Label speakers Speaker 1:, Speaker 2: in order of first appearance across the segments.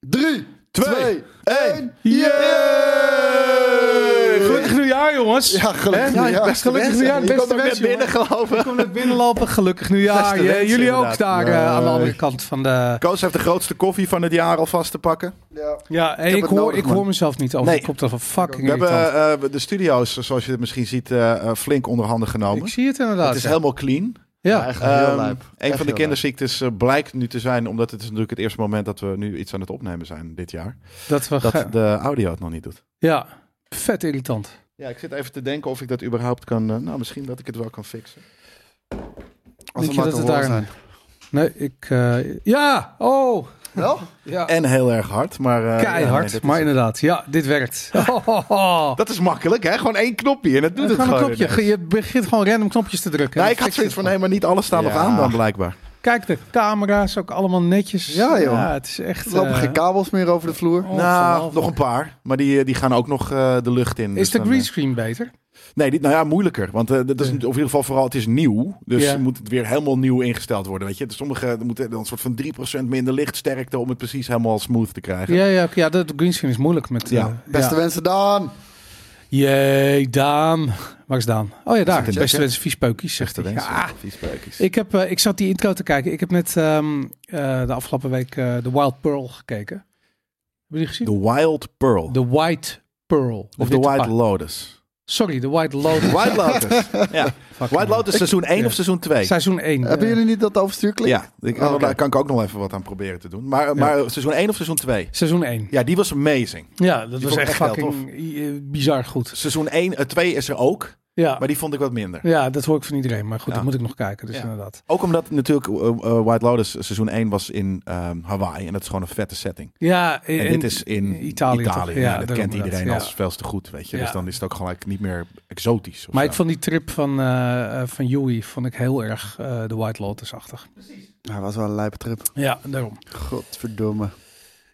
Speaker 1: 3, 2, 1.
Speaker 2: Yay! Gelukkig nieuwjaar, jongens.
Speaker 1: Ja, gelukkig
Speaker 2: Hè?
Speaker 1: nieuwjaar.
Speaker 2: Best gelukkig
Speaker 1: Beste
Speaker 2: nieuwjaar.
Speaker 1: wensen.
Speaker 2: Beste
Speaker 1: Je komt er
Speaker 2: wensen,
Speaker 1: weer binnen,
Speaker 2: jongen. Je komt net binnenlopen. Gelukkig nieuwjaar.
Speaker 3: Beste
Speaker 2: Ja,
Speaker 3: wensen,
Speaker 2: jullie ook
Speaker 3: inderdaad.
Speaker 2: daar eh, aan de
Speaker 3: Nee.
Speaker 2: andere kant van de...
Speaker 3: Koos heeft de grootste koffie van het jaar alvast te pakken.
Speaker 1: Ja.
Speaker 2: Ja, en
Speaker 1: heb
Speaker 2: ik,
Speaker 1: het
Speaker 2: hoor,
Speaker 1: nodig,
Speaker 2: ik
Speaker 1: man.
Speaker 2: hoor mezelf niet over.
Speaker 3: Nee.
Speaker 2: Ik dat van fucking
Speaker 3: We hebben
Speaker 2: irritant.
Speaker 3: eh, de studio's, zoals je het misschien ziet, eh, eh, flink onder handen genomen.
Speaker 2: Ik zie het inderdaad.
Speaker 3: het is helemaal clean.
Speaker 1: Ja,
Speaker 2: ja.
Speaker 1: echt heel
Speaker 3: Ehm,
Speaker 1: lijp.
Speaker 3: Een
Speaker 1: Echt
Speaker 3: van de
Speaker 1: heel
Speaker 3: kinderziektes eh, blijkt nu te zijn, omdat het is natuurlijk het eerste moment dat we nu iets aan het opnemen zijn dit jaar.
Speaker 2: dat we
Speaker 3: Dat
Speaker 2: gaan-
Speaker 3: de audio het nog niet doet.
Speaker 2: Ja, vet irritant.
Speaker 3: Ja, ik zit even te denken of ik dat überhaupt kan. eh, nou, misschien dat ik het wel kan fixen.
Speaker 2: Denk je
Speaker 3: maar
Speaker 2: dat
Speaker 3: te
Speaker 2: het
Speaker 3: horen
Speaker 2: daar... Nee, ik... eh, ja! Oh!
Speaker 1: Wel?
Speaker 2: Ja.
Speaker 3: En heel erg hard, maar. eh, ja, Eh, nee,
Speaker 2: Keihard,
Speaker 3: dit is
Speaker 2: maar
Speaker 3: het.
Speaker 2: inderdaad. Ja, dit werkt. Oh, oh, oh.
Speaker 3: Dat is makkelijk, hè? Gewoon één knopje en het doet het
Speaker 2: Gewoon
Speaker 3: gewoon.
Speaker 2: een knopje.
Speaker 3: ineens.
Speaker 2: Je begint gewoon random knopjes te drukken.
Speaker 3: Nee,
Speaker 2: En
Speaker 3: ik
Speaker 2: dan
Speaker 3: had
Speaker 2: fixt
Speaker 3: zoiets
Speaker 2: het
Speaker 3: van, hé, maar niet alles staat nog
Speaker 1: Ja.
Speaker 3: aan dan blijkbaar.
Speaker 2: Kijk, de camera's ook allemaal netjes.
Speaker 1: Ja, joh.
Speaker 2: Ja, het is echt...
Speaker 1: Er lopen
Speaker 2: eh,
Speaker 1: geen kabels meer over de vloer.
Speaker 2: oh,
Speaker 3: nou,
Speaker 2: geweldig.
Speaker 3: nog een paar, maar die, eh, die gaan ook nog eh, de lucht in.
Speaker 2: Is
Speaker 3: dus
Speaker 2: de
Speaker 3: dan, eh,
Speaker 2: greenscreen beter?
Speaker 3: Nee, dit, nou ja, moeilijker. Want eh, dat is,
Speaker 2: Ja.
Speaker 3: of in ieder geval vooral, het is nieuw. Dus
Speaker 2: Ja.
Speaker 3: moet het weer helemaal nieuw ingesteld worden. Weet je? Dus sommige er moeten dan een soort van 3% minder lichtsterkte om het precies helemaal smooth te krijgen.
Speaker 2: Ja, ja, oké, ja de, de greenscreen is moeilijk met...
Speaker 3: Ja.
Speaker 2: eh,
Speaker 1: Beste
Speaker 2: ja.
Speaker 1: wensen, Daan.
Speaker 2: Jee, Daan. Waar is Daan? Oh ja, daar.
Speaker 3: Check,
Speaker 2: Beste
Speaker 3: check.
Speaker 2: wensen, vies peukjes, zegt hij.
Speaker 3: wensen,
Speaker 2: Ja.
Speaker 3: vies peukjes.
Speaker 2: Ik, heb, eh, ik zat die intro te kijken. Ik heb net ehm, eh, de afgelopen week eh The Wild Pearl gekeken. Hebben jullie gezien?
Speaker 3: The Wild Pearl.
Speaker 2: The White Pearl.
Speaker 3: of The
Speaker 2: Witte
Speaker 3: White
Speaker 2: Pa-
Speaker 3: Lotus.
Speaker 2: Sorry, The White Lotus.
Speaker 3: White Lotus. ja.
Speaker 2: Fuck,
Speaker 3: White
Speaker 2: man.
Speaker 3: Lotus seizoen 1
Speaker 2: ja.
Speaker 3: of seizoen 2?
Speaker 2: Seizoen eh, 1.
Speaker 1: Hebben jullie niet dat overstuurklik?
Speaker 3: Ja, ik,
Speaker 1: Oh, oké.
Speaker 3: daar kan ik ook nog even wat aan proberen te doen. Maar, maar seizoen 1 of seizoen 2?
Speaker 2: Seizoen 1.
Speaker 3: Ja, die was amazing.
Speaker 2: Ja, dat was
Speaker 3: vond ik
Speaker 2: echt
Speaker 3: echt heel
Speaker 2: fucking eh, bizar goed.
Speaker 3: Seizoen 1, eh, 2 is er ook,
Speaker 2: Ja.
Speaker 3: maar die vond ik wat minder.
Speaker 2: ja, dat hoor ik van iedereen. Maar goed,
Speaker 3: Ja.
Speaker 2: dat moet ik nog kijken. Dus
Speaker 3: Ja.
Speaker 2: inderdaad.
Speaker 3: Ook omdat natuurlijk eh, eh, White Lotus seizoen 1 was in ehm, Hawaii. En dat is gewoon een vette setting.
Speaker 2: Ja,
Speaker 3: En,
Speaker 2: en,
Speaker 3: dit is in
Speaker 2: Italië,
Speaker 3: Italië.
Speaker 2: toch?
Speaker 3: Ja,
Speaker 2: Ja,
Speaker 3: dat
Speaker 2: daarom
Speaker 3: kent iedereen
Speaker 2: dat, ja.
Speaker 3: als veel te goed, weet je.
Speaker 2: Ja.
Speaker 3: Dus dan is het ook gelijk niet meer exotisch. of
Speaker 2: Maar
Speaker 3: zo.
Speaker 2: ik vond die trip van, eh eh, van Yui vond ik heel erg eh, de White Lotus-achtig.
Speaker 1: Hij was wel een lijpe trip.
Speaker 2: Ja, daarom.
Speaker 1: Godverdomme.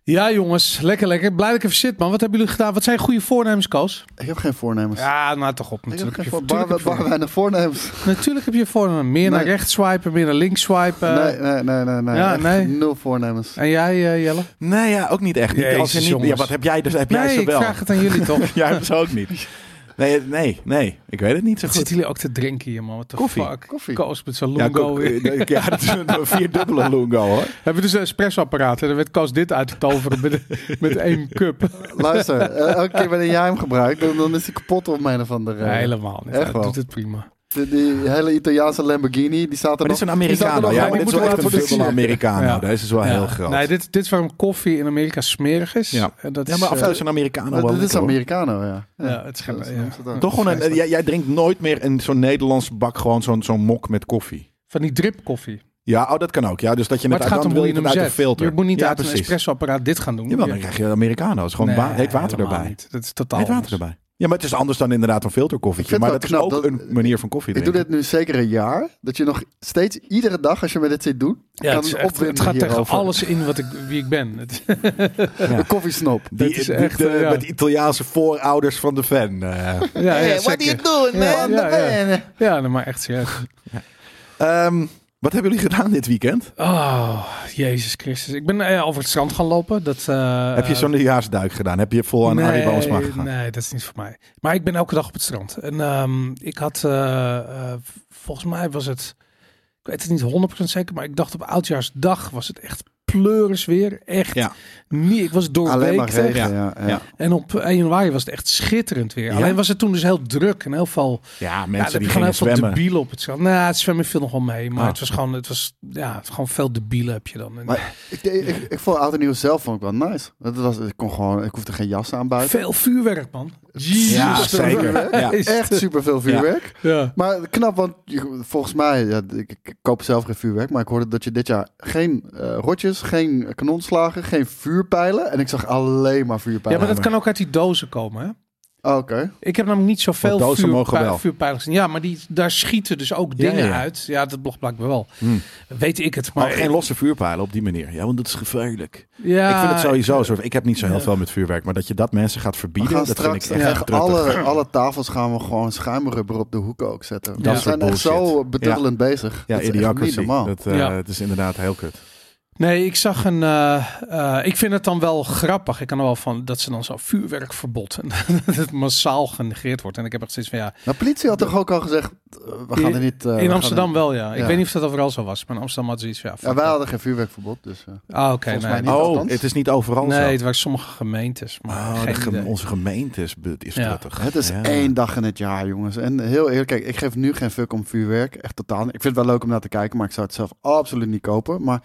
Speaker 2: Ja, jongens. Lekker, lekker. Blij dat ik even zit, man. Wat hebben jullie gedaan? Wat zijn goede voornemens, Koos?
Speaker 1: Ik heb geen voornemens.
Speaker 2: Ja, nou toch op.
Speaker 1: ik heb
Speaker 2: Natuurlijk
Speaker 1: geen
Speaker 2: heb,
Speaker 1: voor-
Speaker 2: je,
Speaker 1: bar,
Speaker 2: natuurlijk, heb
Speaker 1: bar,
Speaker 2: je voornemens.
Speaker 1: weinig voornemens.
Speaker 2: Natuurlijk heb je voornemens. Meer naar
Speaker 1: Nee.
Speaker 2: rechts swipen, meer naar links swipen.
Speaker 1: nee, nee, nee, nee. nee.
Speaker 2: Eh, ja,
Speaker 1: Echt
Speaker 2: nee.
Speaker 1: Nul voornemens.
Speaker 2: En jij, eh, Jelle?
Speaker 3: Nee, ja, ook niet echt. Niet, als je
Speaker 2: Jezus,
Speaker 3: niet, ja,
Speaker 2: jongens.
Speaker 3: wat heb jij dus? Heb jij
Speaker 2: nee,
Speaker 3: ze
Speaker 2: ik
Speaker 3: wel?
Speaker 2: vraag het aan jullie toch.
Speaker 3: jij hebt ze ook niet. Nee, nee, nee. Ik weet het niet zo
Speaker 2: Wat
Speaker 3: goed.
Speaker 2: Zitten jullie ook te drinken hier, man? What the
Speaker 3: Koffie.
Speaker 2: fuck?
Speaker 1: Koffie.
Speaker 2: Koos met zijn
Speaker 3: Ja,
Speaker 2: lungo.
Speaker 3: ook, eh, ja, dat is een vierdubbele lungo, hoor.
Speaker 2: Hebben we dus een espressoapparaat. En dan werd Koos dit uit het toveren met, met één cup.
Speaker 1: Luister, eh, elke keer wanneer jij hem gebruikt, dan, dan is hij kapot op mijn of andere.
Speaker 2: Nee, helemaal niet.
Speaker 1: Echt
Speaker 2: Hij
Speaker 1: wel.
Speaker 2: doet het prima.
Speaker 1: Die, die hele Italiaanse Lamborghini, die staat er
Speaker 3: Maar dit
Speaker 1: nog.
Speaker 3: is een
Speaker 1: die staat er
Speaker 3: Americano.
Speaker 1: nog
Speaker 3: Ja,
Speaker 1: aan.
Speaker 3: maar
Speaker 1: Ik
Speaker 3: dit is
Speaker 1: moet
Speaker 3: wel
Speaker 1: hem
Speaker 3: echt een
Speaker 1: laten
Speaker 3: dubbele
Speaker 1: zien.
Speaker 3: Americano.
Speaker 2: Ja.
Speaker 3: Deze is wel
Speaker 2: Ja.
Speaker 3: heel groot.
Speaker 2: Nee, dit, dit is waarom koffie in Amerika smerig is.
Speaker 3: Ja.
Speaker 2: En dat
Speaker 3: ja, maar
Speaker 2: is,
Speaker 3: af en toe
Speaker 2: eh,
Speaker 3: is een Americano wel
Speaker 1: Maar Dit is
Speaker 3: lekker, hoor.
Speaker 1: Americano, ja.
Speaker 2: ja, het is
Speaker 1: Zo-
Speaker 2: geen-
Speaker 1: zo
Speaker 2: ja.
Speaker 1: noemt ze het ook.
Speaker 3: Toch gewoon een, eh, jij, jij drinkt nooit meer in zo'n Nederlands bak gewoon zo'n zo'n mok met koffie.
Speaker 2: Van die drip koffie.
Speaker 3: Ja, oh, dat kan ook. Ja, dus dat je
Speaker 2: Maar
Speaker 3: het,
Speaker 2: het
Speaker 3: uit,
Speaker 2: gaat om
Speaker 3: dan wil
Speaker 2: hoe je
Speaker 3: je het
Speaker 2: hem
Speaker 3: uit
Speaker 2: zet.
Speaker 3: een filter.
Speaker 2: Je moet niet
Speaker 3: ja,
Speaker 2: uit een
Speaker 3: precies.
Speaker 2: espressoapparaat dit gaan doen.
Speaker 3: Jawel,
Speaker 2: Je-
Speaker 3: dan krijg je Americano's. Gewoon ba-
Speaker 2: Nee,
Speaker 3: heet water
Speaker 2: helemaal
Speaker 3: erbij.
Speaker 2: niet. Dat is totaal
Speaker 3: Heet water
Speaker 2: anders.
Speaker 3: erbij. Ja, maar het is anders dan inderdaad een
Speaker 1: Ik
Speaker 3: filterkoffietje.
Speaker 1: vind
Speaker 3: Maar
Speaker 1: het
Speaker 3: dat is
Speaker 1: wel
Speaker 3: ook
Speaker 1: knap dat-
Speaker 3: een manier van koffie
Speaker 1: Ik doe
Speaker 3: drinken.
Speaker 1: dit nu zeker een jaar. Dat je nog steeds iedere dag, als je me dit ziet doen,
Speaker 2: Ja, het,
Speaker 1: kan
Speaker 2: is echt-
Speaker 1: opwinden
Speaker 2: het gaat tegen
Speaker 1: hierover.
Speaker 2: alles in wat ik, wie ik ben. Het-
Speaker 1: De koffiesnoop.
Speaker 3: Die,
Speaker 2: dit is
Speaker 3: die-
Speaker 2: echt,
Speaker 3: de,
Speaker 2: eh, ja.
Speaker 3: Met Italiaanse voorouders van de fan. eh.
Speaker 2: ja, ja, zeker.
Speaker 1: doing,
Speaker 2: Ja, ja, ja. ja nee, maar echt serieus.
Speaker 3: Ehm, wat hebben jullie gedaan dit weekend?
Speaker 2: Oh, Jezus Christus. Ik ben eh, over het strand gaan lopen. Dat, eh,
Speaker 3: Heb je zo'n nieuwjaarsduik gedaan? Heb je vol aan
Speaker 2: nee,
Speaker 3: Arie Boomsma gegaan?
Speaker 2: Nee, dat is niet voor mij. Maar ik ben elke dag op het strand. En ehm, ik had, eh, eh, volgens mij was het, ik weet het niet 100% zeker, maar ik dacht op oudjaarsdag was het echt pleuris weer. Echt
Speaker 3: Ja.
Speaker 2: niet. Ik was
Speaker 1: Alleen maar
Speaker 2: doorweekt. hè.
Speaker 1: regen, ja. ja.
Speaker 3: Ja.
Speaker 2: En op 1 januari was het echt schitterend weer.
Speaker 3: Ja?
Speaker 2: Alleen was het toen dus heel druk en heel veel
Speaker 3: Ja,
Speaker 2: ja,
Speaker 3: mensen
Speaker 2: er
Speaker 3: die
Speaker 2: gewoon
Speaker 3: gingen
Speaker 2: heel veel
Speaker 3: zwemmen.
Speaker 2: debielen op het strand. Nou, het zwemmen viel nog wel mee, maar
Speaker 3: Ah.
Speaker 2: het was gewoon, het was, ja, het was gewoon veel debielen heb je dan. En
Speaker 1: Maar ik, ik, ik, ik vond oud en nieuw zelf vond ik wel nice. Dat was, ik, kon gewoon, ik hoefde geen jas aan buiten.
Speaker 2: veel vuurwerk, man. Jezus.
Speaker 3: Ja, zeker. Ja.
Speaker 1: Echt superveel vuurwerk.
Speaker 2: Ja.
Speaker 1: Maar knap, want je- volgens mij, ja, ik, ik koop zelf geen vuurwerk, maar ik hoorde dat je dit jaar geen eh, rotjes, geen kanonslagen, geen vuurpijlen. En ik zag alleen maar
Speaker 2: ja,
Speaker 1: vuurpijlen.
Speaker 2: maar dat kan ook uit die dozen komen, hè?
Speaker 1: Oh, Oké.
Speaker 2: Ik heb namelijk niet zoveel
Speaker 3: Want dozen
Speaker 2: vuurpij-
Speaker 3: mogen wel.
Speaker 2: vuurpijlen gezien. Ja, maar die, daar schieten dus ook
Speaker 3: Ja,
Speaker 2: dingen
Speaker 3: ja.
Speaker 2: uit. Ja, dat blog blijkbaar wel.
Speaker 3: Hmm.
Speaker 2: Weet ik het,
Speaker 3: Maar
Speaker 2: maar...
Speaker 3: geen losse vuurpijlen op die manier. Ja, want dat is gevaarlijk.
Speaker 2: ja,
Speaker 3: ik vind het sowieso. Soort, ik heb niet zo heel veel met vuurwerk. Maar dat je dat mensen gaat
Speaker 1: We
Speaker 3: verbieden.
Speaker 1: gaan
Speaker 3: dat vind
Speaker 1: straks
Speaker 3: ik echt,
Speaker 1: echt
Speaker 3: truttig.
Speaker 1: alle, alle tafels gaan we gewoon schuimrubber op de hoeken ook zetten. we
Speaker 3: soort
Speaker 1: zijn echt
Speaker 3: bullshit.
Speaker 1: zo beduddelend bezig.
Speaker 3: Ja,
Speaker 1: dat is echt niet
Speaker 3: idiocracy.
Speaker 1: normaal.
Speaker 3: Dat, eh,
Speaker 2: Ja.
Speaker 3: Het is inderdaad heel kut.
Speaker 2: Nee, ik zag een. eh, eh, ik vind het dan wel grappig. Ik kan er wel van dat ze dan zo'n vuurwerkverbod. En dat het massaal genegeerd wordt. En ik heb echt steeds van
Speaker 3: Eh,
Speaker 2: ja.
Speaker 1: Nou, politie had toch ook al gezegd, eh, we gaan er niet... eh, we gaan
Speaker 2: in
Speaker 1: er-
Speaker 2: Amsterdam wel, ja. Ik
Speaker 1: ja.
Speaker 2: weet niet of dat overal zo was. Maar in Amsterdam had ze iets van ja.
Speaker 1: Ja,
Speaker 2: fuck
Speaker 1: wij
Speaker 2: that.
Speaker 1: hadden geen vuurwerkverbod, dus... eh.
Speaker 2: Ah, oké.
Speaker 1: volgens
Speaker 2: nee.
Speaker 1: mij niet.
Speaker 3: Oh,
Speaker 1: althans.
Speaker 3: het is niet overal
Speaker 2: Nee,
Speaker 3: zo.
Speaker 2: het waren sommige gemeentes. Maar
Speaker 3: Oh, de
Speaker 2: geen
Speaker 3: gem-
Speaker 2: idee.
Speaker 3: onze gemeente is, be- is
Speaker 2: Ja.
Speaker 3: prettig.
Speaker 1: Het is
Speaker 3: Ja.
Speaker 1: één dag in het jaar, jongens. En heel eerlijk, kijk, ik geef nu geen fuck om vuurwerk. Echt totaal. niet. Ik vind het wel leuk om naar te kijken, maar ik zou het zelf absoluut niet kopen. Maar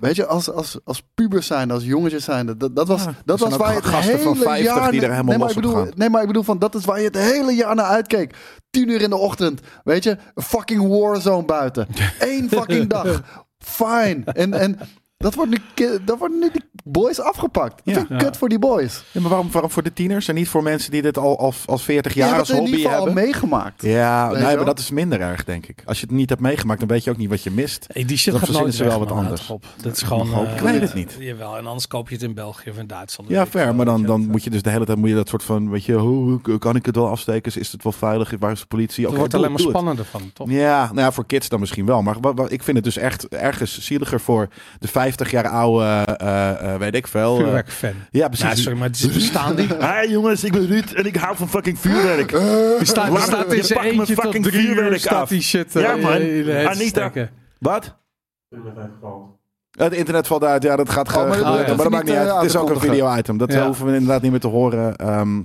Speaker 1: weet je, als, als, als pubers zijn, als jongetjes zijn, dat- dat, dat was,
Speaker 3: Ja,
Speaker 1: dat
Speaker 3: er
Speaker 1: was
Speaker 3: zijn
Speaker 1: waar je
Speaker 3: ook
Speaker 1: het
Speaker 3: gasten
Speaker 1: hele
Speaker 3: van 50
Speaker 1: jaar...
Speaker 3: die er helemaal
Speaker 1: nee, maar
Speaker 3: los
Speaker 1: ik
Speaker 3: op
Speaker 1: bedoel,
Speaker 3: gaan.
Speaker 1: nee, maar ik bedoel van, dat is waar je het hele jaar naar uitkeek. Tien uur in de ochtend, weet je, een fucking warzone buiten. Eén fucking dag. Fine. En, en dat wordt nu, ki- dat wordt nu die boys afgepakt.
Speaker 3: Ja.
Speaker 1: Ja, kut voor die boys.
Speaker 3: Ja, maar waarom, waarom voor de tieners en niet voor mensen die dit al, al als 40 jaar
Speaker 1: je hebt
Speaker 3: als
Speaker 1: het in
Speaker 3: hobby
Speaker 1: ieder geval
Speaker 3: hebben?
Speaker 1: al meegemaakt.
Speaker 3: Ja,
Speaker 1: Weet
Speaker 3: nee,
Speaker 1: je
Speaker 3: maar
Speaker 1: wel?
Speaker 3: dat is minder erg, denk ik. Als je het niet hebt meegemaakt, dan weet je ook niet wat je mist.
Speaker 2: Hey, die shit
Speaker 3: Dan
Speaker 2: gaat
Speaker 3: verzinnen
Speaker 2: nooit
Speaker 3: ze wel wat
Speaker 2: weg, man. Houd
Speaker 3: anders.
Speaker 2: op. Dat is gewoon...
Speaker 3: mag ook.
Speaker 2: eh,
Speaker 3: Ik weet het niet.
Speaker 2: Jawel, en anders koop je het in België of in Duitsland.
Speaker 3: Ja, fair. Maar dan,
Speaker 2: Weet
Speaker 3: dan
Speaker 2: ik
Speaker 3: moet je dus de hele tijd moet je dat soort van, weet je, hoe hoe kan ik het wel afsteken? Is het wel veilig? Waar is de politie?
Speaker 2: veel. Het
Speaker 3: Oké,
Speaker 2: wordt
Speaker 3: doe
Speaker 2: alleen
Speaker 3: het, doe
Speaker 2: maar
Speaker 3: het.
Speaker 2: spannender van, toch?
Speaker 3: Ja, nou ja, voor kids dan misschien wel. Maar wa- wa- ik vind het dus echt ergens zieliger voor de 50 jaar oude, eh, eh, weet ik veel. eh,
Speaker 2: Vuurwerkfan.
Speaker 3: ja, precies.
Speaker 2: Nou, sorry, maar het is bestaan die.
Speaker 3: Hi jongens, ik ben Ruud en ik hou van fucking vuurwerk.
Speaker 2: Die staat,
Speaker 3: Laat
Speaker 2: die staat
Speaker 3: me-
Speaker 2: in zijn
Speaker 3: pak me
Speaker 2: eentje tot
Speaker 3: fucking
Speaker 2: drie uur
Speaker 3: vuurwerk
Speaker 2: staat
Speaker 3: af.
Speaker 2: die shit. eh,
Speaker 3: Ja, man.
Speaker 2: in de head te
Speaker 3: Anita.
Speaker 2: steken.
Speaker 3: Wat? Het internet valt uit, ja, dat gaat ge-
Speaker 1: Oh, maar dat-
Speaker 3: gebeuren.
Speaker 2: dat
Speaker 1: hoef
Speaker 3: maar
Speaker 1: je
Speaker 3: dat maakt
Speaker 1: niet,
Speaker 3: niet uit.
Speaker 1: eh,
Speaker 3: Het is
Speaker 1: aan
Speaker 3: ook
Speaker 1: te
Speaker 3: een video-item. Dat eh,
Speaker 2: Ja.
Speaker 3: hoeven we inderdaad niet meer te horen. Ehm,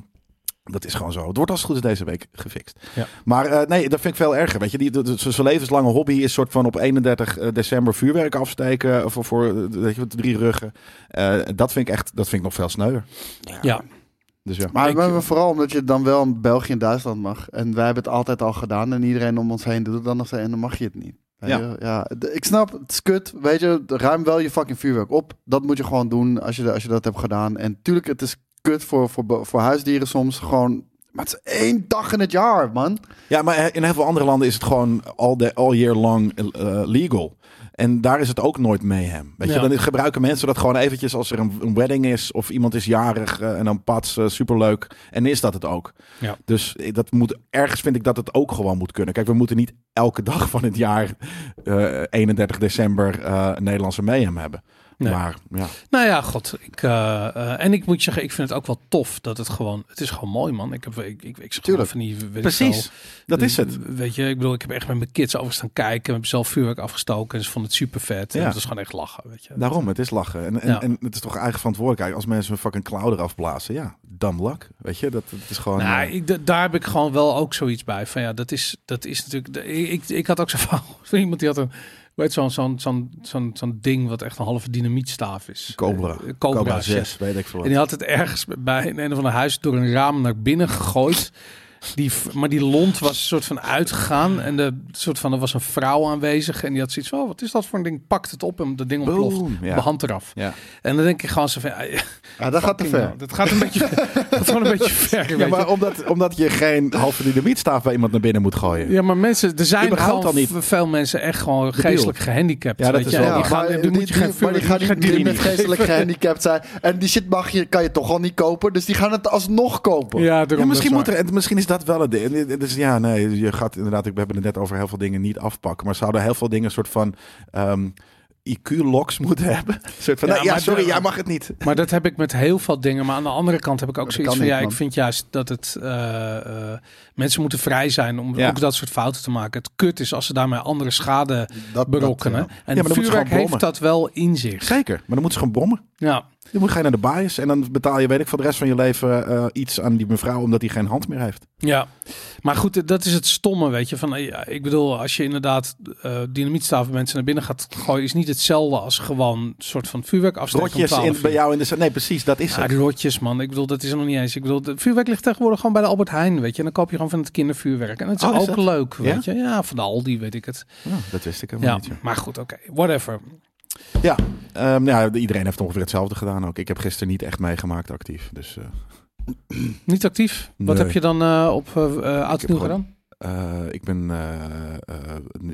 Speaker 3: dat is gewoon zo. Het wordt als het goed is deze week gefixt.
Speaker 2: Ja.
Speaker 3: Maar eh, nee, dat vind ik veel erger. Weet je, die, dat- dat- zijn levenslange hobby is soort van op 31 december vuurwerk afsteken. Voor, voor eh, weet je, wat, drie ruggen. Eh, dat vind ik echt, dat vind ik nog veel sneuwer.
Speaker 2: Ja,
Speaker 3: Dus ja.
Speaker 1: Maar,
Speaker 2: Ik-
Speaker 1: maar vooral omdat je het dan wel in België en Duitsland mag. En wij hebben het altijd al gedaan. En iedereen om ons heen doet het dan nog steeds. En dan mag je het niet. Weet
Speaker 3: Ja.
Speaker 1: je? ja. d- Ik snap, het is kut. Weet je, ruim wel je fucking vuurwerk op. Dat moet je gewoon doen als je, als je dat hebt gedaan. En tuurlijk, het is kut voor, voor, bo- voor huisdieren soms. Gewoon, maar het is één dag in het jaar, man.
Speaker 3: Ja, maar eh, in heel veel andere landen is het gewoon all, the, all year long eh, legal. En daar is het ook nooit mayhem. Weet je,
Speaker 2: Ja.
Speaker 3: dan gebruiken mensen dat gewoon eventjes als er een, een wedding is of iemand is jarig eh, en dan pats, eh, superleuk. En is dat het ook.
Speaker 2: Ja.
Speaker 3: Dus eh, dat moet, ergens vind ik dat het ook gewoon moet kunnen. Kijk, we moeten niet elke dag van het jaar eh, 31 december eh, Nederlandse mayhem hebben.
Speaker 2: Nee.
Speaker 3: Maar ja.
Speaker 2: nou ja, god. Ik, eh, eh, en ik moet zeggen, ik vind het ook wel tof dat het gewoon... Het is gewoon mooi, man. Ik heb ik, ik, ik zag
Speaker 1: Tuurlijk.
Speaker 2: van die... weet ik veel,
Speaker 3: Dat is het.
Speaker 2: Weet je, ik bedoel, ik heb echt met mijn kids over staan kijken. We hebben zelf vuurwerk afgestoken en ze vonden het super vet.
Speaker 3: Ja.
Speaker 2: En het is gewoon echt lachen, weet je.
Speaker 3: Daarom, het is lachen. En, en,
Speaker 2: Ja.
Speaker 3: en het is toch eigen verantwoordelijkheid. Als mensen een fucking klauw eraf blazen, ja, dumb luck. Weet je, dat, dat is gewoon...
Speaker 2: Nou,
Speaker 3: eh,
Speaker 2: ik, da- daar heb ik gewoon wel ook zoiets bij. Van ja, dat is, dat is natuurlijk. de- Ik, ik, ik had ook zo van van iemand die had een. Weet zo'n zo'n zo'n zo'n zo'n ding wat echt een halve dynamietstaaf is.
Speaker 3: Cobra.
Speaker 2: Eh, Cobra,
Speaker 3: Cobra,
Speaker 2: 6.
Speaker 3: 6, weet ik veel
Speaker 2: En die had het ergens bij een, een of ander huis door een raam naar binnen gegooid. Die, v- maar die lont was een soort van uitgegaan. En de, soort van, er was een vrouw aanwezig. En die had zoiets van, oh, wat is dat voor een ding? Pakt het op en dat ding
Speaker 3: Boom,
Speaker 2: ontploft.
Speaker 3: ja.
Speaker 2: De hand eraf.
Speaker 3: Ja.
Speaker 2: En dan denk ik gewoon zo van... ja,
Speaker 1: Ja, dat gaat te ver.
Speaker 2: nou, dat gaat een beetje, dat gaat gewoon een beetje ver. weet
Speaker 3: Ja,
Speaker 2: je.
Speaker 3: maar omdat, omdat je geen halve dynamietstaaf bij iemand naar binnen moet gooien.
Speaker 2: Ja, maar mensen, er zijn
Speaker 3: Überhaupt
Speaker 2: gewoon
Speaker 3: al niet.
Speaker 2: v- veel mensen echt gewoon geestelijk gehandicapt.
Speaker 3: Ja, dat
Speaker 2: weet
Speaker 3: is
Speaker 2: je.
Speaker 3: wel
Speaker 2: Die
Speaker 3: waar.
Speaker 2: gaan,
Speaker 1: maar
Speaker 2: die
Speaker 1: die-
Speaker 2: moet je
Speaker 1: die-
Speaker 2: geen
Speaker 1: maar die
Speaker 2: vuur-
Speaker 1: gaan niet
Speaker 2: die gaan
Speaker 1: die
Speaker 2: die
Speaker 1: met geestelijk gehandicapt zijn. En die shit mag je, kan je toch al niet kopen. Dus die gaan het alsnog kopen.
Speaker 2: Ja, daarom,
Speaker 3: Ja, misschien,
Speaker 2: dat is
Speaker 3: moet er, en misschien is dat wel het ding. En dit- Dus ja, nee, je gaat inderdaad, ik- we hebben het net over heel veel dingen niet afpakken. Maar zouden heel veel dingen een soort van ehm IQ-locks moeten hebben? Een soort van,
Speaker 2: Ja,
Speaker 3: nou, ja
Speaker 2: maar
Speaker 3: sorry,
Speaker 2: de-
Speaker 3: jij mag het niet.
Speaker 2: waar. Maar dat heb ik met heel veel dingen. Maar aan de andere kant heb ik ook
Speaker 1: Dat
Speaker 2: zoiets
Speaker 1: kan
Speaker 2: van...
Speaker 1: niet,
Speaker 2: ja, ik
Speaker 1: man.
Speaker 2: vind juist dat het... eh, eh, mensen moeten vrij zijn om
Speaker 3: Ja.
Speaker 2: ook dat soort fouten te maken. Het kut is als ze daarmee andere schade
Speaker 1: dat,
Speaker 2: berokkenen.
Speaker 1: ja.
Speaker 2: En
Speaker 3: maar dan moeten ze
Speaker 2: vuurwerk
Speaker 3: gewoon
Speaker 2: heeft
Speaker 3: bommen.
Speaker 2: dat wel in zich.
Speaker 3: Zeker, maar dan moeten ze gewoon bommen.
Speaker 2: Ja,
Speaker 3: Dan moet je naar de bias en dan betaal je, weet ik, voor de rest van je leven eh, iets aan die mevrouw omdat hij geen hand meer heeft.
Speaker 2: Ja, maar goed, dat is het stomme, weet je. Van, eh, ja, ik bedoel, als je inderdaad eh dynamietstaven mensen naar binnen gaat gooien, is niet hetzelfde als gewoon een soort van vuurwerk afsteken. om
Speaker 3: Rotjes
Speaker 2: 12
Speaker 3: in,
Speaker 2: uur.
Speaker 3: bij jou in de... za- Nee, precies, dat is
Speaker 2: Ja, dus-
Speaker 3: het.
Speaker 2: die rotjes, man. Ik bedoel, dat is er nog niet eens. Ik bedoel, de vuurwerk ligt tegenwoordig gewoon bij de Albert Heijn, weet je. En dan koop je gewoon van het kindervuurwerk. En dat is
Speaker 3: Oh, is
Speaker 2: ook
Speaker 3: dat?
Speaker 2: leuk,
Speaker 3: Ja?
Speaker 2: weet je. Ja, van de Aldi, weet ik het.
Speaker 3: Ja, dat wist ik helemaal
Speaker 2: Ja,
Speaker 3: niet. joh.
Speaker 2: maar goed, oké. Whatever.
Speaker 3: Ja, ehm, nou ja, iedereen heeft ongeveer hetzelfde gedaan ook. Ik heb gisteren niet echt meegemaakt actief. Dus eh,
Speaker 2: Niet actief. Wat
Speaker 3: Nee.
Speaker 2: heb je dan eh, op eh eh, oud en
Speaker 3: heb
Speaker 2: nieuw
Speaker 3: gewoon-
Speaker 2: gedaan?
Speaker 3: Eh, ik ben eh, eh,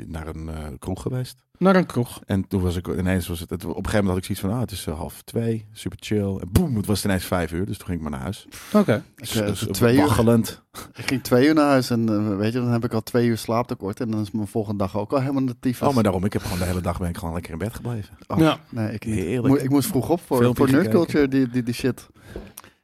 Speaker 3: naar een eh, kroeg geweest.
Speaker 2: Naar een kroeg.
Speaker 3: En toen was ik ineens, was het, het- op een gegeven moment had ik zoiets van, ah, het is eh, half twee, super chill. En boem, het was ineens vijf uur, dus toen ging ik maar naar huis.
Speaker 2: Oké.
Speaker 1: Ik, eh,
Speaker 3: Dus, eh,
Speaker 1: twee uur,
Speaker 3: waggelend.
Speaker 1: ik ging twee uur naar huis en eh, weet je, dan heb ik al twee uur slaaptekort. En dan is mijn volgende dag ook al helemaal de tyfus.
Speaker 3: Oh, maar daarom, ik heb gewoon de hele dag ben ik gewoon lekker in bed gebleven.
Speaker 1: Oh,
Speaker 2: Ja.
Speaker 1: Nee, ik niet.
Speaker 3: Heerlijk.
Speaker 1: Moe- ik moest vroeg op voor,
Speaker 3: Filmpje
Speaker 1: voor Nerd
Speaker 3: gekeken.
Speaker 1: Culture, die, die, die shit.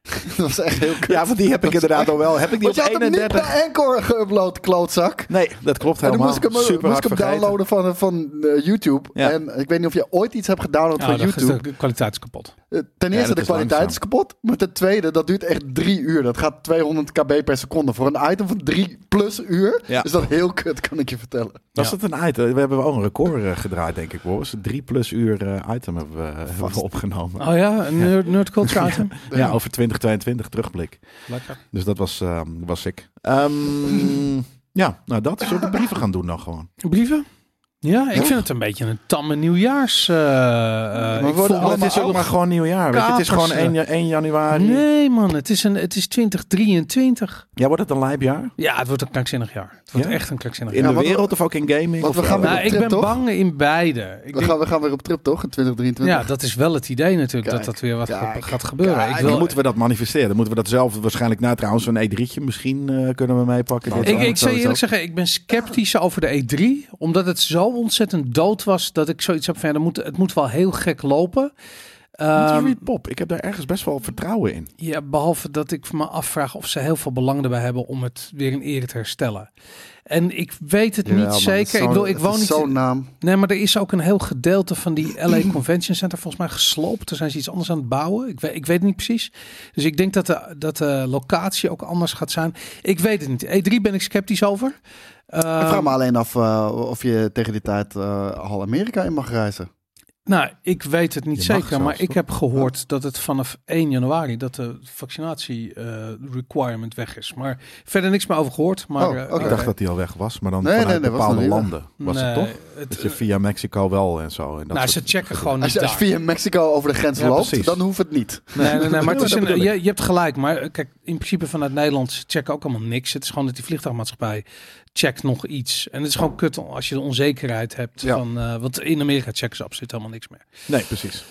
Speaker 1: dat was echt heel kut.
Speaker 3: Ja, want die heb ik inderdaad al wel. Heb ik die
Speaker 1: Want je
Speaker 3: op
Speaker 1: had hem niet
Speaker 3: 31?
Speaker 1: bij Anchor geüpload, klootzak.
Speaker 3: Nee, dat
Speaker 1: En
Speaker 3: klopt
Speaker 1: dan
Speaker 3: helemaal.
Speaker 1: moest ik hem, eh, moest ik
Speaker 3: super
Speaker 1: hem
Speaker 3: hard vergeten.
Speaker 1: downloaden van, van eh, YouTube.
Speaker 3: Ja.
Speaker 1: En ik weet niet of je ooit iets hebt gedownload
Speaker 2: Ja,
Speaker 1: van
Speaker 2: dan is
Speaker 1: YouTube.
Speaker 2: de kwaliteit is kapot.
Speaker 1: Eh, Ten
Speaker 3: Ja,
Speaker 1: eerste,
Speaker 3: dat
Speaker 1: de
Speaker 3: is
Speaker 1: kwaliteit
Speaker 3: langzaam.
Speaker 1: is kapot. Maar ten tweede, dat duurt echt drie uur. Dat gaat 200 kb per seconde. Voor een item van drie plus uur
Speaker 3: Ja.
Speaker 1: is dat heel kut, kan ik je vertellen.
Speaker 3: Was
Speaker 2: Ja.
Speaker 3: dat een item? We hebben ook een record eh, gedraaid, denk ik, Boris. Drie plus uur eh, item hebben we, hebben we opgenomen.
Speaker 2: Oh ja, een nerd, nerd culture item.
Speaker 3: Ja, over 2022 terugblik.
Speaker 2: Lekker.
Speaker 3: Dus dat was, ehm, was ik. Ehm, ja, nou dat. Zullen we de brieven gaan doen dan gewoon?
Speaker 2: Brieven? Ja, ik vind het een beetje een tamme nieuwjaars... eh, eh, ik
Speaker 1: worden
Speaker 2: voel me
Speaker 1: allemaal
Speaker 3: het is ook
Speaker 2: nog-
Speaker 3: maar gewoon nieuwjaar. Weet je? Het is
Speaker 2: kapers,
Speaker 3: gewoon 1, ja- 1 januari.
Speaker 2: Nee man, het is, een, het is 2023.
Speaker 3: Ja, wordt het een lijpjaar?
Speaker 2: Ja, het wordt een krankzinnig jaar. Het wordt
Speaker 3: Ja?
Speaker 2: echt een krankzinnig
Speaker 3: In
Speaker 2: jaar.
Speaker 1: Ja,
Speaker 3: de
Speaker 1: want-
Speaker 3: wereld of ook in gaming?
Speaker 1: want we
Speaker 3: Of,
Speaker 1: gaan
Speaker 3: eh,
Speaker 1: weer-
Speaker 2: Nou, ik
Speaker 1: trip,
Speaker 2: ben
Speaker 1: toch?
Speaker 2: bang in beide. Ik
Speaker 1: We
Speaker 2: denk,
Speaker 1: gaan, we gaan weer op trip, toch? In 2023.
Speaker 2: ja, dat is wel het idee natuurlijk, dat
Speaker 1: Kijk,
Speaker 2: dat weer wat
Speaker 1: kijk,
Speaker 2: gaat- gaat gebeuren.
Speaker 1: kijk.
Speaker 2: ik
Speaker 3: dan
Speaker 2: wil,
Speaker 3: moeten we dat manifesteren. Dan moeten we dat zelf waarschijnlijk na trouwens zo'n E3'tje misschien eh, kunnen we meepakken.
Speaker 1: Nou,
Speaker 3: Dit
Speaker 2: Ik,
Speaker 3: jaar.
Speaker 2: ik zou je
Speaker 1: sowieso.
Speaker 2: eerlijk zeggen, ik ben sceptisch over de E3. Omdat het zo ontzettend dood was dat ik zoiets heb van, ja, dat moet, het moet wel heel gek lopen.
Speaker 3: Niet
Speaker 2: Ehm,
Speaker 3: Reed Pop. Ik heb daar ergens best wel vertrouwen in.
Speaker 2: ja, behalve dat ik me afvraag of ze heel veel belang erbij hebben om het weer in ere te herstellen. En ik weet het niet zeker. Ik, wil, ik woon niet...
Speaker 1: Zo'n naam.
Speaker 2: Nee, maar er is ook een heel gedeelte van die LA Convention Center volgens mij gesloopt. Er zijn ze iets anders aan het bouwen. Ik weet, ik weet het niet precies. Dus ik denk dat de, dat de locatie ook anders gaat zijn. Ik weet het niet. E3 ben ik sceptisch over.
Speaker 1: Ik
Speaker 2: Ehm,
Speaker 1: vraag me alleen af eh, of je tegen die tijd eh, al Amerika in mag reizen.
Speaker 2: Nou, ik weet het niet
Speaker 3: Je mag
Speaker 2: zeker, maar
Speaker 3: zelfs,
Speaker 2: ik
Speaker 3: toch?
Speaker 2: heb gehoord dat het vanaf 1 januari dat de vaccinatie eh, requirement weg is. Maar verder niks meer over gehoord. Maar
Speaker 1: Oh,
Speaker 2: eh,
Speaker 1: oké.
Speaker 3: Ik
Speaker 2: oké.
Speaker 3: dacht dat die al weg was, maar dan
Speaker 1: Nee,
Speaker 3: vanuit
Speaker 1: nee, nee, was
Speaker 3: bepaalde
Speaker 1: nog niet
Speaker 3: landen was het
Speaker 2: Nee, eh,
Speaker 3: toch? Dat je via Mexico wel en zo. En dat
Speaker 2: nou, ze
Speaker 3: soort-
Speaker 2: checken gewoon
Speaker 1: Als
Speaker 2: niet
Speaker 1: je, als
Speaker 2: daar.
Speaker 1: je via Mexico over de grens
Speaker 3: Ja,
Speaker 1: loopt,
Speaker 3: precies.
Speaker 1: dan hoeft het niet.
Speaker 2: Nee, nee, nee, maar het is
Speaker 3: dat
Speaker 2: een,
Speaker 3: bedoel ik.
Speaker 2: je, je hebt gelijk. Maar eh, kijk, in principe vanuit Nederland ze checken ook allemaal niks. Het is gewoon dat die vliegtuigmaatschappij checkt nog iets. En het is gewoon kut als je de onzekerheid hebt.
Speaker 1: Ja.
Speaker 2: Van, eh, want in Amerika checken ze absoluut helemaal niks meer.
Speaker 3: Nee, precies.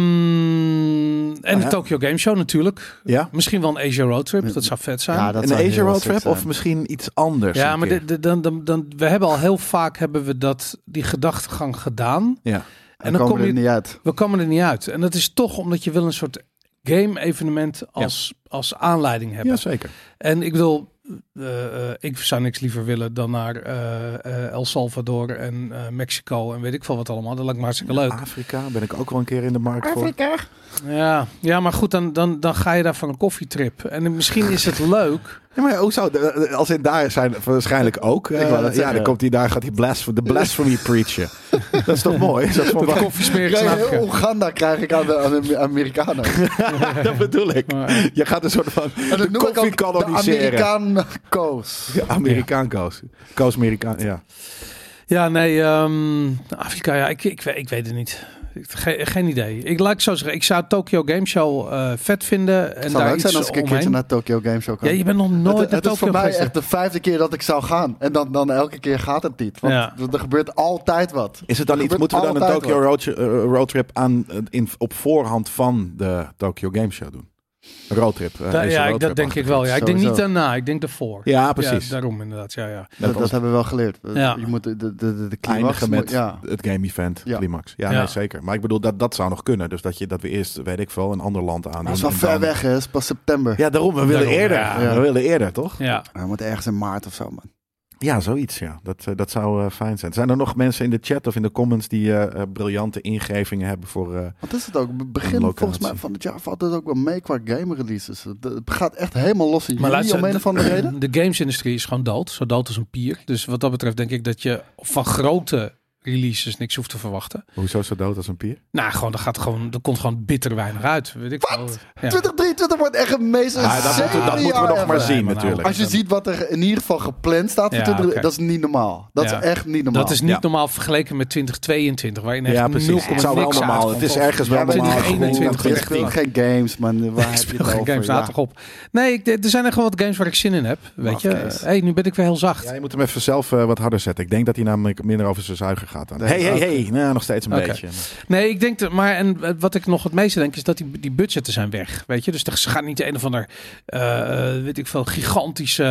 Speaker 2: Ehm, en
Speaker 3: Ah,
Speaker 2: de
Speaker 3: ja.
Speaker 2: Tokyo Game Show natuurlijk.
Speaker 3: Ja?
Speaker 2: Misschien wel een Asia Road Trip. Dat zou vet zijn.
Speaker 1: dat
Speaker 3: Een
Speaker 1: zou
Speaker 3: Asia
Speaker 1: heel
Speaker 3: Road
Speaker 1: sick
Speaker 3: Trip
Speaker 1: zijn.
Speaker 3: of misschien iets anders?
Speaker 2: Ja,
Speaker 3: een
Speaker 2: maar
Speaker 3: keer?
Speaker 2: dit- dit- dan, dan, dan, we hebben al heel vaak hebben we dat, die gedachtegang gedaan.
Speaker 3: Ja.
Speaker 1: En dan, komen we
Speaker 2: je,
Speaker 1: er niet uit.
Speaker 2: we komen er niet uit. En dat is toch omdat je wil een soort game-evenement als, als aanleiding hebben.
Speaker 3: ja, zeker.
Speaker 2: En ik bedoel, eh, eh, ik zou niks liever willen dan naar eh, eh, El Salvador en eh, Mexico en weet ik veel wat allemaal. Dat lijkt me hartstikke leuk.
Speaker 3: Afrika ben ik ook wel een keer in de markt voor.
Speaker 2: Ja, ja maar goed, dan, dan, dan ga je daar voor een koffietrip. En misschien is het leuk.
Speaker 3: Ja, maar hoe zou als in daar zijn waarschijnlijk ook. eh,
Speaker 1: wou dat
Speaker 3: ja,
Speaker 1: zeggen.
Speaker 3: dan komt hij daar, gaat hij blasf- de blasphemy preachen. dat is toch mooi? Dat, is toch mooi?
Speaker 2: Koffiesmerig
Speaker 1: Krijg-
Speaker 2: in Afrika.
Speaker 1: Oeganda krijg ik aan de, aan de Amerikanen.
Speaker 3: dat bedoel ik.
Speaker 2: Maar-
Speaker 3: Je gaat een soort van
Speaker 1: En
Speaker 3: de
Speaker 1: dat noem ik
Speaker 3: koffie
Speaker 1: ook de
Speaker 3: kanoniseren.
Speaker 1: Amerikaan Koos.
Speaker 3: Ja, Amerikaan koos. Koos Amerikaan, ja.
Speaker 2: Ja, nee, ehm, Afrika, ja, ik, ik, we- ik weet het niet. Ik- Ge geen idee. Ik, laat ik zo zeggen, ik zou Tokyo Game Show eh, vet vinden.
Speaker 1: Het
Speaker 2: En
Speaker 1: zou
Speaker 2: daar
Speaker 1: leuk
Speaker 2: iets
Speaker 1: zijn als ik een keertje
Speaker 2: omheen.
Speaker 1: naar Tokyo Game Show kan.
Speaker 2: Ja, je bent nog nooit
Speaker 1: het, het
Speaker 2: naar
Speaker 1: is voor
Speaker 2: Tokyo
Speaker 1: mij
Speaker 2: geweest.
Speaker 1: echt de vijfde keer dat ik zou gaan. En dan, dan elke keer gaat het niet. Want
Speaker 2: Ja.
Speaker 1: er er gebeurt altijd wat.
Speaker 3: Is het dan
Speaker 1: Er
Speaker 3: iets, moeten we dan
Speaker 1: gebeurt
Speaker 3: een
Speaker 1: altijd
Speaker 3: Tokyo
Speaker 1: wat.
Speaker 3: road, eh, roadtrip aan, eh, in, op voorhand van de Tokyo Game Show doen? Een Roadtrip. eh,
Speaker 2: Da-
Speaker 3: is een
Speaker 2: ja, ik-
Speaker 3: roadtrip
Speaker 2: dat denk ik wel. Ja. Ik denk niet
Speaker 1: Sowieso.
Speaker 2: daarna, ik denk daarvoor.
Speaker 3: Ja, precies.
Speaker 2: Ja, daarom inderdaad, ja, ja.
Speaker 1: Dat, dat
Speaker 3: was
Speaker 1: hebben we wel geleerd.
Speaker 2: Ja.
Speaker 1: Je moet de, de, de, de climax...
Speaker 3: eindigen
Speaker 1: moet-
Speaker 3: met
Speaker 1: ja.
Speaker 3: het game event,
Speaker 1: Ja.
Speaker 3: climax. Ja,
Speaker 2: Ja.
Speaker 3: nee, zeker. Maar ik bedoel, dat, dat zou nog kunnen. Dus dat, je, dat we eerst, weet ik veel, een ander land aan.
Speaker 1: Dat is wel ver weg, hè. Het is pas september.
Speaker 3: Ja, daarom. We willen
Speaker 2: Daarom,
Speaker 3: eerder.
Speaker 2: ja.
Speaker 1: Ja.
Speaker 3: We willen eerder, toch?
Speaker 2: ja.
Speaker 1: We moeten ergens in maart of zo, man.
Speaker 3: Ja, zoiets. Ja. Dat, eh, dat zou eh, fijn zijn. Zijn er nog mensen in de chat of in de comments die eh, eh, briljante ingevingen hebben voor... eh,
Speaker 1: Wat is het ook?
Speaker 3: Een
Speaker 1: Begin
Speaker 3: locatie.
Speaker 1: volgens mij van het jaar valt het ook wel mee qua game releases. Het het gaat echt helemaal los in
Speaker 2: Maar
Speaker 1: juli
Speaker 2: luister,
Speaker 1: om een of andere reden.
Speaker 2: De gamesindustrie is gewoon dood. Zo dood als een pier. Dus wat dat betreft denk ik dat je van grote release, dus niks hoeft te verwachten.
Speaker 3: Hoezo zo dood als een pier?
Speaker 2: Nou, gewoon, er, gaat gewoon, er komt gewoon bitter weinig uit. Weet ik wel. Ja.
Speaker 1: 2023 wordt echt een meest
Speaker 3: Ah, dat moeten, dat
Speaker 1: insane
Speaker 3: moeten we
Speaker 1: jaar
Speaker 3: nog maar
Speaker 1: ever.
Speaker 3: zien
Speaker 2: maar nou,
Speaker 3: natuurlijk.
Speaker 1: Als je ziet wat er in ieder geval gepland staat voor
Speaker 2: Ja,
Speaker 1: 2023,
Speaker 2: oké.
Speaker 1: dat is niet normaal. Dat
Speaker 2: Ja.
Speaker 1: is echt niet normaal.
Speaker 2: Dat is niet
Speaker 3: Ja.
Speaker 2: normaal vergeleken met 2022, waarin echt
Speaker 3: Ja, precies.
Speaker 2: 0,0
Speaker 3: Het zou wel
Speaker 2: niks
Speaker 3: normaal.
Speaker 2: uitkomt.
Speaker 3: Het is ergens wel
Speaker 1: Ja, maar
Speaker 3: normaal.
Speaker 1: die
Speaker 3: gevoel.
Speaker 2: 21
Speaker 1: Je
Speaker 2: echt
Speaker 1: speelt
Speaker 2: niet.
Speaker 1: geen games, man. Waar
Speaker 2: Ik
Speaker 1: heb je
Speaker 2: speel
Speaker 1: het
Speaker 2: geen
Speaker 1: over?
Speaker 2: games, laat
Speaker 1: Ja.
Speaker 2: toch op. Nee, ik, er zijn echt wel wat games waar ik zin in heb. Weet je,
Speaker 3: Mafkees.
Speaker 2: hey, nu ben ik weer heel zacht.
Speaker 3: Ja, je moet hem even zelf eh, wat harder zetten. Ik denk dat hij namelijk minder over zijn zuiger gaat. Dan. Hey, hey, hey. Nou, nog steeds een
Speaker 2: Oké.
Speaker 3: beetje.
Speaker 2: Nee, ik denk dat, maar en eh, wat ik nog het meeste denk is dat die, die budgetten zijn weg. Weet je, dus er- ze gaan niet een of ander, eh, weet ik veel, gigantische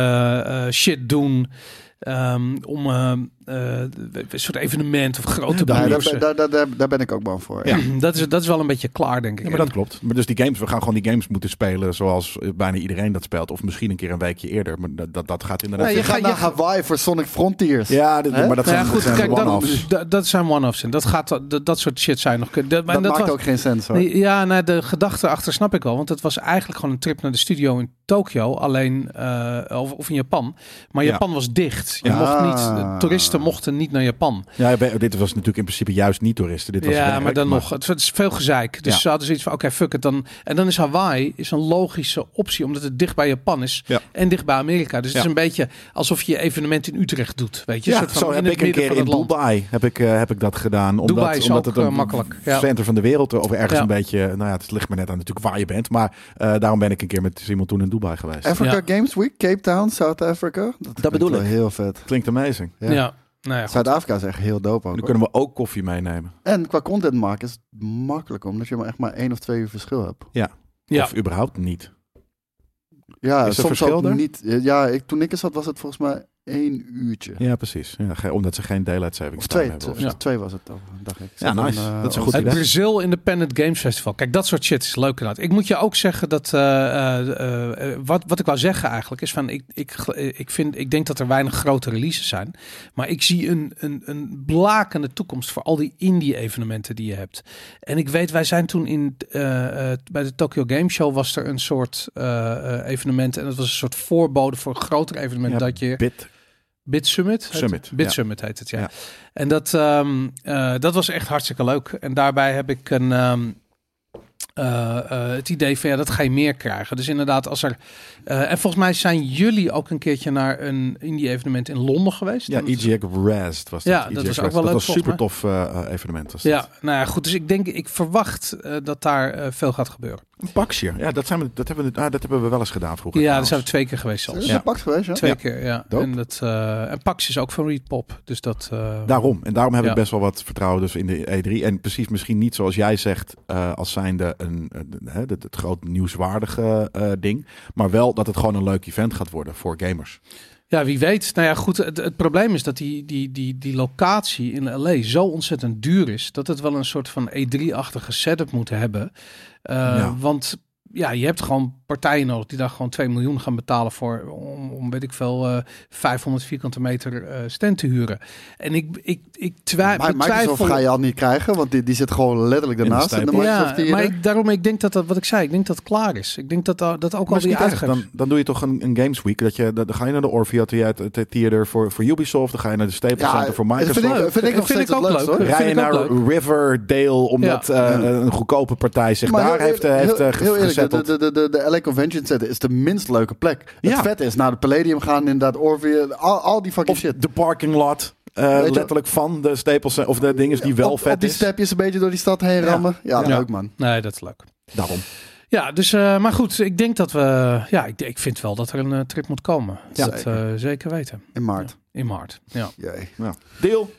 Speaker 2: eh, shit doen. ehm, om eh, eh, een soort evenement of grote
Speaker 1: Ja, daar,
Speaker 2: beurzen.
Speaker 1: daar, daar, daar, daar ben ik ook bang voor.
Speaker 2: Ja, dat, is, dat is wel een beetje klaar, denk ik.
Speaker 3: Ja, maar dat klopt. Maar dus die games, we gaan gewoon die games moeten spelen zoals eh, bijna iedereen dat speelt. Of misschien een keer een weekje eerder. Maar dat, dat, dat gaat inderdaad...
Speaker 2: Nee,
Speaker 1: Je
Speaker 2: Je
Speaker 1: gaat
Speaker 2: gaat-
Speaker 1: naar
Speaker 2: je-
Speaker 1: Hawaii voor Sonic Frontiers.
Speaker 3: Ja, dit-
Speaker 1: Hè?
Speaker 3: maar dat
Speaker 2: Nou
Speaker 3: zijn,
Speaker 2: ja,
Speaker 3: dat
Speaker 2: goed,
Speaker 3: zijn
Speaker 2: kijk, dat,
Speaker 3: one-offs.
Speaker 2: da- dat zijn one-offs. En dat, gaat, dat, dat soort shit zijn nog. kun- Dat, maar
Speaker 1: dat, maakt
Speaker 2: was-
Speaker 1: ook geen sens hoor.
Speaker 2: Nee, ja, nou, de gedachte achter snap ik wel. Want het was eigenlijk gewoon een trip naar de studio in Tokio. Alleen, eh, of, of in Japan. Maar
Speaker 3: Ja.
Speaker 2: Japan was dicht. Je
Speaker 1: Ja.
Speaker 2: mocht niet, de toeristen mochten niet naar Japan.
Speaker 3: Ja, we- dit was natuurlijk in principe juist niet toeristen. Dit was
Speaker 2: ja,
Speaker 3: werk,
Speaker 2: maar dan nog. Het, het is veel gezeik. Dus
Speaker 3: Ja.
Speaker 2: ze hadden zoiets van, oké, fuck het. Dan, en dan is Hawaii is een logische optie. Omdat het dicht bij Japan is.
Speaker 3: Ja.
Speaker 2: En dicht bij Amerika. Dus het
Speaker 3: Ja.
Speaker 2: is een beetje alsof je je evenement in Utrecht doet. Weet je? Een
Speaker 3: Ja,
Speaker 2: soort van
Speaker 3: zo
Speaker 2: in
Speaker 3: heb
Speaker 2: het
Speaker 3: ik een
Speaker 2: midden
Speaker 3: keer
Speaker 2: van
Speaker 3: in
Speaker 2: het land.
Speaker 3: Dubai heb ik, eh, heb ik dat gedaan. Omdat,
Speaker 2: Dubai is
Speaker 3: omdat
Speaker 2: ook,
Speaker 3: het een
Speaker 2: eh, makkelijk, ja.
Speaker 3: center van de wereld eh, of ergens
Speaker 2: Ja.
Speaker 3: een beetje... Nou ja, het ligt maar net aan natuurlijk waar je bent. Maar eh, daarom ben ik een keer met Simon toen in Dubai geweest.
Speaker 1: Africa
Speaker 2: Ja.
Speaker 1: Games Week, Cape Town, South Africa. Dat, klinkt
Speaker 3: bedoel
Speaker 1: wel
Speaker 3: ik.
Speaker 1: heel vet.
Speaker 3: Klinkt amazing.
Speaker 1: Ja.
Speaker 2: Ja. Nou ja, goed.
Speaker 1: Zuid-Afrika is echt heel dope
Speaker 3: En
Speaker 1: ook.
Speaker 3: dan
Speaker 1: hoor.
Speaker 3: kunnen we ook koffie meenemen.
Speaker 1: En qua content maken is het makkelijk omdat je maar echt maar één of twee uur verschil hebt.
Speaker 2: Ja.
Speaker 3: Of überhaupt niet.
Speaker 1: Ja,
Speaker 3: Is er
Speaker 1: soms
Speaker 3: verschil
Speaker 1: ook
Speaker 3: daar?
Speaker 1: niet. Ja, ik, toen ik er zat was het volgens mij één uurtje.
Speaker 3: Ja, precies. Ja, ge- omdat ze geen daylight savings
Speaker 1: Of
Speaker 3: time
Speaker 1: twee,
Speaker 3: hebben. of
Speaker 1: twee,
Speaker 3: zo.
Speaker 1: twee was het dan, dacht ik.
Speaker 3: Ja,
Speaker 1: Zo van,
Speaker 3: nice.
Speaker 1: eh,
Speaker 3: Dat is een goed
Speaker 1: ons-
Speaker 2: Het
Speaker 3: idee.
Speaker 2: Brazil Independent Games Festival. Kijk, dat soort shit is leuk inderdaad. Ik moet je ook zeggen dat... eh, eh, eh, wat, wat ik wou zeggen eigenlijk is van... Ik, ik, gel- eh, ik, vind, ik denk dat er weinig grote releases zijn. Maar ik zie een, een, een blakende toekomst voor al die indie-evenementen die je hebt. En ik weet, wij zijn toen in, eh, eh, bij de Tokyo Game Show... was er een soort eh, eh, evenement. En dat was een soort voorbode voor een groter evenement
Speaker 3: Ja,
Speaker 2: dat je...
Speaker 3: Bit.
Speaker 2: Bit Summit? heet
Speaker 3: Summit,
Speaker 2: het? Bit
Speaker 3: ja.
Speaker 2: Summit heet het, ja.
Speaker 3: Ja.
Speaker 2: En dat, ehm, eh, dat was echt hartstikke leuk. En daarbij heb ik een, ehm, eh, eh, het idee van ja, dat ga je meer krijgen. Dus inderdaad, als er. eh, en volgens mij zijn jullie ook een keertje naar een indie-evenement in Londen geweest.
Speaker 3: Ja, E
Speaker 2: En dat-
Speaker 3: EGX Rest was dat.
Speaker 2: Ja, dat
Speaker 3: EGX
Speaker 2: was ook
Speaker 3: Rest.
Speaker 2: wel
Speaker 3: Dat
Speaker 2: leuk,
Speaker 3: was
Speaker 2: volgens
Speaker 3: super tof eh, evenement. Was
Speaker 2: Ja,
Speaker 3: dat.
Speaker 2: nou ja, goed. Dus ik denk, ik verwacht eh, dat daar eh, veel gaat gebeuren.
Speaker 3: Een pakje. Ja, dat, zijn we, dat, hebben we, ah, dat hebben we wel eens gedaan vroeger.
Speaker 2: Ja, daar
Speaker 3: trouwens.
Speaker 2: zijn we twee keer geweest
Speaker 1: Is
Speaker 2: zelfs.
Speaker 1: het
Speaker 3: Ja.
Speaker 1: een pak geweest, ja?
Speaker 2: Twee keer, ja.
Speaker 3: Dope.
Speaker 2: En, dat, eh, en Pax is ook van Reed Pop. Dus dat. eh,
Speaker 3: Daarom. En daarom heb
Speaker 2: Ja.
Speaker 3: ik best wel wat vertrouwen dus in de E3. En precies misschien niet zoals jij zegt, eh, als zijnde een, een- hè, het, het groot nieuwswaardige eh, ding. Maar wel dat het gewoon een leuk event gaat worden voor gamers.
Speaker 2: Ja, wie weet. Nou ja, goed. Het, het probleem is dat die, die, die, die locatie in LA zo ontzettend duur is. dat het wel een soort van E3-achtige setup moet hebben. Uh,
Speaker 3: Ja.
Speaker 2: Want ja, je hebt gewoon partijen nodig die daar gewoon 2 miljoen gaan betalen voor. om, om weet ik veel, eh 500 vierkante meter eh stand te huren. En ik, ik, ik twi-
Speaker 1: Maar Microsoft
Speaker 2: betwijfel.
Speaker 1: ga je al niet krijgen, want die, die zit gewoon letterlijk
Speaker 3: In de
Speaker 1: daarnaast. In de
Speaker 3: stijl.
Speaker 1: Microsoft eh,
Speaker 2: ja,
Speaker 1: Theater.
Speaker 2: maar ik, daarom, ik denk dat dat, wat ik zei, ik denk dat het klaar is. Ik denk dat eh, dat, dat ook al
Speaker 3: Maar is
Speaker 2: die
Speaker 3: niet erg.
Speaker 2: uitgevers...
Speaker 3: Dan, dan doe je toch een, een Games Week. Dat je, dan dan ga je naar de Orvia Theater- Theater voor, voor Ubisoft. Dan ga je naar de Staples Center voor
Speaker 1: dat
Speaker 3: Microsoft.
Speaker 1: Vind ik,
Speaker 2: Leuk.
Speaker 1: vind ik nog
Speaker 2: Vind
Speaker 1: steeds
Speaker 2: ik
Speaker 1: het
Speaker 2: ook
Speaker 1: leukste,
Speaker 2: leuk.
Speaker 1: hoor.
Speaker 2: Ja,
Speaker 3: Rijden
Speaker 2: vind ik ook
Speaker 3: naar Riverdale omdat
Speaker 2: Ja.
Speaker 3: eh, een goedkope partij zich daar
Speaker 1: heel-
Speaker 3: heeft, eh, heeft eh,
Speaker 1: heel,
Speaker 3: ge-
Speaker 1: heel eerlijk,
Speaker 3: gezetteld.
Speaker 1: de, de, de, de LA Convention Center is de minst leuke plek.
Speaker 3: Ja.
Speaker 1: Het vet is, naar de Palladium gaan, inderdaad, Orville, al, al die fucking
Speaker 3: Of
Speaker 1: shit.
Speaker 3: de parking lot. eh,
Speaker 1: Weet je-
Speaker 3: letterlijk van de Staples Center- of de dingen die wel
Speaker 1: op,
Speaker 3: vet
Speaker 1: op die
Speaker 3: is.
Speaker 1: stepjes een beetje door die stad heen rammen. Ja,
Speaker 2: Ja.
Speaker 1: leuk man.
Speaker 2: Nee, dat is leuk.
Speaker 3: Daarom.
Speaker 2: Ja, dus, eh, maar goed, ik denk dat we. Ja, ik, ik vind wel dat er een eh, trip moet komen.
Speaker 1: Ja.
Speaker 2: dat eh, zeker weten.
Speaker 1: In maart.
Speaker 2: In maart. Ja.
Speaker 1: Jee.
Speaker 3: Deel.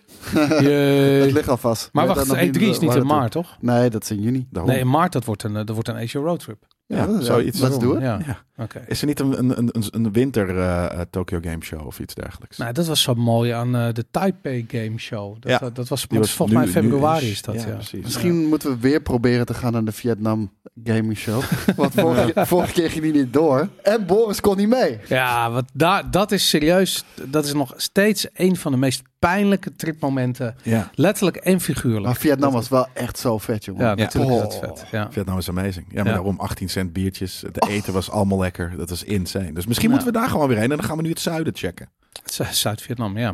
Speaker 1: Dat ligt al vast.
Speaker 2: Maar
Speaker 1: Weet
Speaker 2: wacht,
Speaker 1: dat nog
Speaker 3: E
Speaker 1: eh,
Speaker 2: E3 is niet
Speaker 1: waar
Speaker 2: in
Speaker 1: het- Oh.
Speaker 2: maart, toch?
Speaker 1: Nee, dat is in juni.
Speaker 3: Daarom.
Speaker 2: Nee, in maart dat wordt een, eh, dat wordt een Asia Roadtrip.
Speaker 3: Ja,
Speaker 1: dat-
Speaker 3: zoiets.
Speaker 1: Let's do it.
Speaker 2: Ja,
Speaker 3: Ja.
Speaker 2: oké.
Speaker 3: Is er niet een, een, een, een winter eh, eh, Tokyo Game Show of iets dergelijks?
Speaker 2: Nou, dat was zo mooi aan eh, de Taipei Game Show. Dat, eh,
Speaker 3: Ja.
Speaker 2: dat, dat was,
Speaker 3: Die was
Speaker 2: volgens mij
Speaker 3: nu-
Speaker 2: in februari
Speaker 3: nu
Speaker 2: is dat. Ja,
Speaker 3: precies.
Speaker 1: Misschien moeten we weer proberen te gaan naar de Vietnam Gaming Show. Want vorige, vorige keer ging die niet door. En Boris kon niet mee.
Speaker 2: Ja, wat daar, dat is serieus. Dat is nog steeds een van de meest pijnlijke tripmomenten.
Speaker 3: Ja.
Speaker 2: Letterlijk en figuurlijk.
Speaker 1: Maar Vietnam was wel echt zo vet, jongen.
Speaker 2: Ja, natuurlijk is dat
Speaker 1: Ah, Oh.
Speaker 2: vet. Ja.
Speaker 3: Vietnam is amazing. Ja, maar
Speaker 2: Ja.
Speaker 3: daarom 18 cent biertjes. Het eten was allemaal lekker. Dat is insane. Dus misschien
Speaker 2: Ja.
Speaker 3: moeten we daar gewoon weer heen en dan gaan we nu het zuiden checken.
Speaker 2: Zu- Zuid-Vietnam, ja.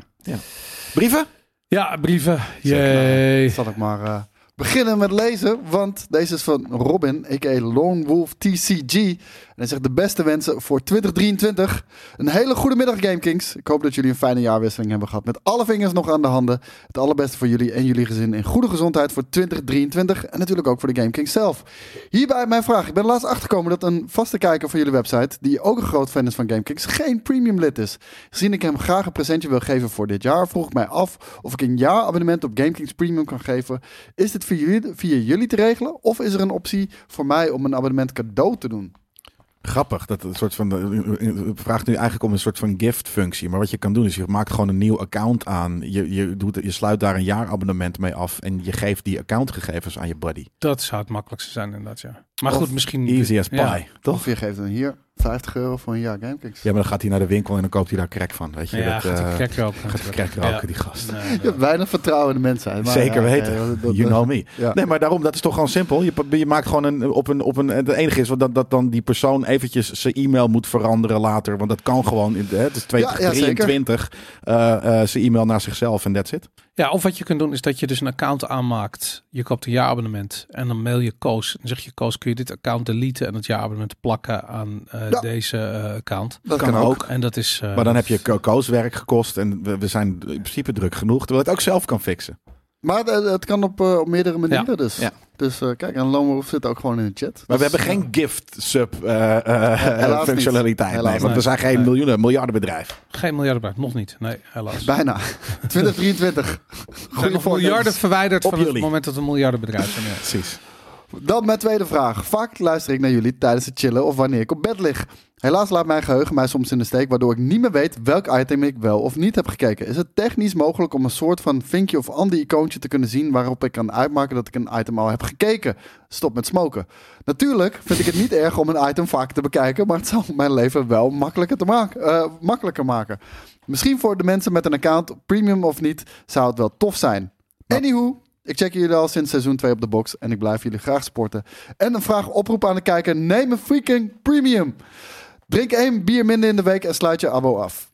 Speaker 3: Brieven?
Speaker 2: Ja, brieven.
Speaker 3: Zeker.
Speaker 2: Jee.
Speaker 1: Zal ik maar eh, beginnen met lezen, want deze is van Robin, a.k.a. Lone Wolf TCG. En hij zegt de beste wensen voor 2023. Een hele goede middag, GameKings. Ik hoop dat jullie een fijne jaarwisseling hebben gehad met alle vingers nog aan de handen. Het allerbeste voor jullie en jullie gezin in goede gezondheid voor 2023 en natuurlijk ook voor de GameKings zelf. Hierbij mijn vraag. Ik ben laatst achtergekomen dat een vaste kijker van jullie website, die ook een groot fan is van GameKings, geen premium lid is. Gezien ik hem graag een presentje wil geven voor dit jaar, vroeg ik mij af of ik een jaarabonnement op GameKings Premium kan geven. Is dit via jullie, via jullie te regelen of is er een optie voor mij om een abonnement cadeau te doen?
Speaker 3: Grappig. Dat het soort van, eh, het vraagt nu eigenlijk om een soort van gift-functie. Maar wat je kan doen is, je maakt gewoon een nieuw account aan. Je, je, doet, je sluit daar een jaarabonnement mee af. En je geeft die accountgegevens aan je buddy.
Speaker 2: Dat zou het makkelijkste zijn inderdaad, ja. Maar
Speaker 1: Of
Speaker 2: goed, misschien...
Speaker 3: Easy as pie.
Speaker 2: Ja.
Speaker 1: Of je geeft dan hier 50 euro voor een jaar GameKings.
Speaker 3: Ja, maar dan gaat hij naar de winkel en dan koopt hij daar crack van. Weet je,
Speaker 2: Ja,
Speaker 3: dat,
Speaker 2: gaat
Speaker 3: eh,
Speaker 2: hij crack roken.
Speaker 3: gaat hij crack roken, die gast.
Speaker 2: Nee,
Speaker 1: Je hebt weinig vertrouwen in de mensheid. maar
Speaker 3: Zeker
Speaker 1: ja,
Speaker 3: weten.
Speaker 1: oké, dat- dat-
Speaker 3: you know me.
Speaker 1: ja.
Speaker 3: Nee, maar daarom, dat is toch gewoon simpel. Je, je maakt gewoon een, op een, op een... Het enige is wat dat, dat dan die persoon eventjes zijn e-mail moet veranderen later. Want dat kan gewoon. in- Hè, het is
Speaker 1: Ja, ja, zeker.
Speaker 3: 2023. eh, eh, zijn e-mail naar zichzelf en that's it.
Speaker 2: Ja, of wat je kunt doen is dat je dus een account aanmaakt. Je koopt een jaarabonnement en dan mail je Koos. En zeg je Koos, kun je dit account deleten en het jaarabonnement plakken aan eh,
Speaker 1: Ja.
Speaker 2: deze eh, account.
Speaker 1: Dat kan ook.
Speaker 2: En dat is... eh,
Speaker 3: Maar dan heb je ko- kooswerk gekost. En we, we zijn in principe druk genoeg. Terwijl je het ook zelf kan fixen.
Speaker 1: Maar het, het kan op, eh, op meerdere manieren dus.
Speaker 3: Ja.
Speaker 1: Dus eh, kijk, en Lomerhoef zit ook gewoon in de chat.
Speaker 3: Maar we
Speaker 1: Dus,
Speaker 3: hebben geen gift sub eh, eh,
Speaker 1: helaas niet.
Speaker 3: functionaliteit.
Speaker 1: Helaas
Speaker 3: nee, want we
Speaker 2: niet.
Speaker 3: zijn geen
Speaker 2: Nee.
Speaker 3: miljoenen, miljardenbedrijf.
Speaker 2: Geen miljardenbedrijf, nog niet. Nee, helaas.
Speaker 1: Bijna. 2023.
Speaker 2: We zijn
Speaker 1: Goede
Speaker 2: nog miljarden
Speaker 1: voornemens.
Speaker 2: verwijderd
Speaker 3: Op
Speaker 2: van het
Speaker 3: jullie.
Speaker 2: moment dat we een miljardenbedrijf zijn. ja.
Speaker 3: Precies.
Speaker 1: Dan mijn tweede vraag. Vaak luister ik naar jullie tijdens het chillen of wanneer ik op bed lig. Helaas laat mijn geheugen mij soms in de steek, waardoor ik niet meer weet welk item ik wel of niet heb gekeken. Is het technisch mogelijk om een soort van vinkje of ander icoontje te kunnen zien waarop ik kan uitmaken dat ik een item al heb gekeken? Stop met smoken. Natuurlijk vind ik het niet erg om een item vaak te bekijken, maar het zal mijn leven wel makkelijker, te maken, eh, makkelijker maken. Misschien voor de mensen met een account, premium of niet, zou het wel tof zijn. Anywho, ik check jullie al sinds seizoen 2 op de box en ik blijf jullie graag sporten. En een vraag oproep aan de kijker: neem een freaking premium. Drink één bier minder in de week en sluit je abo af.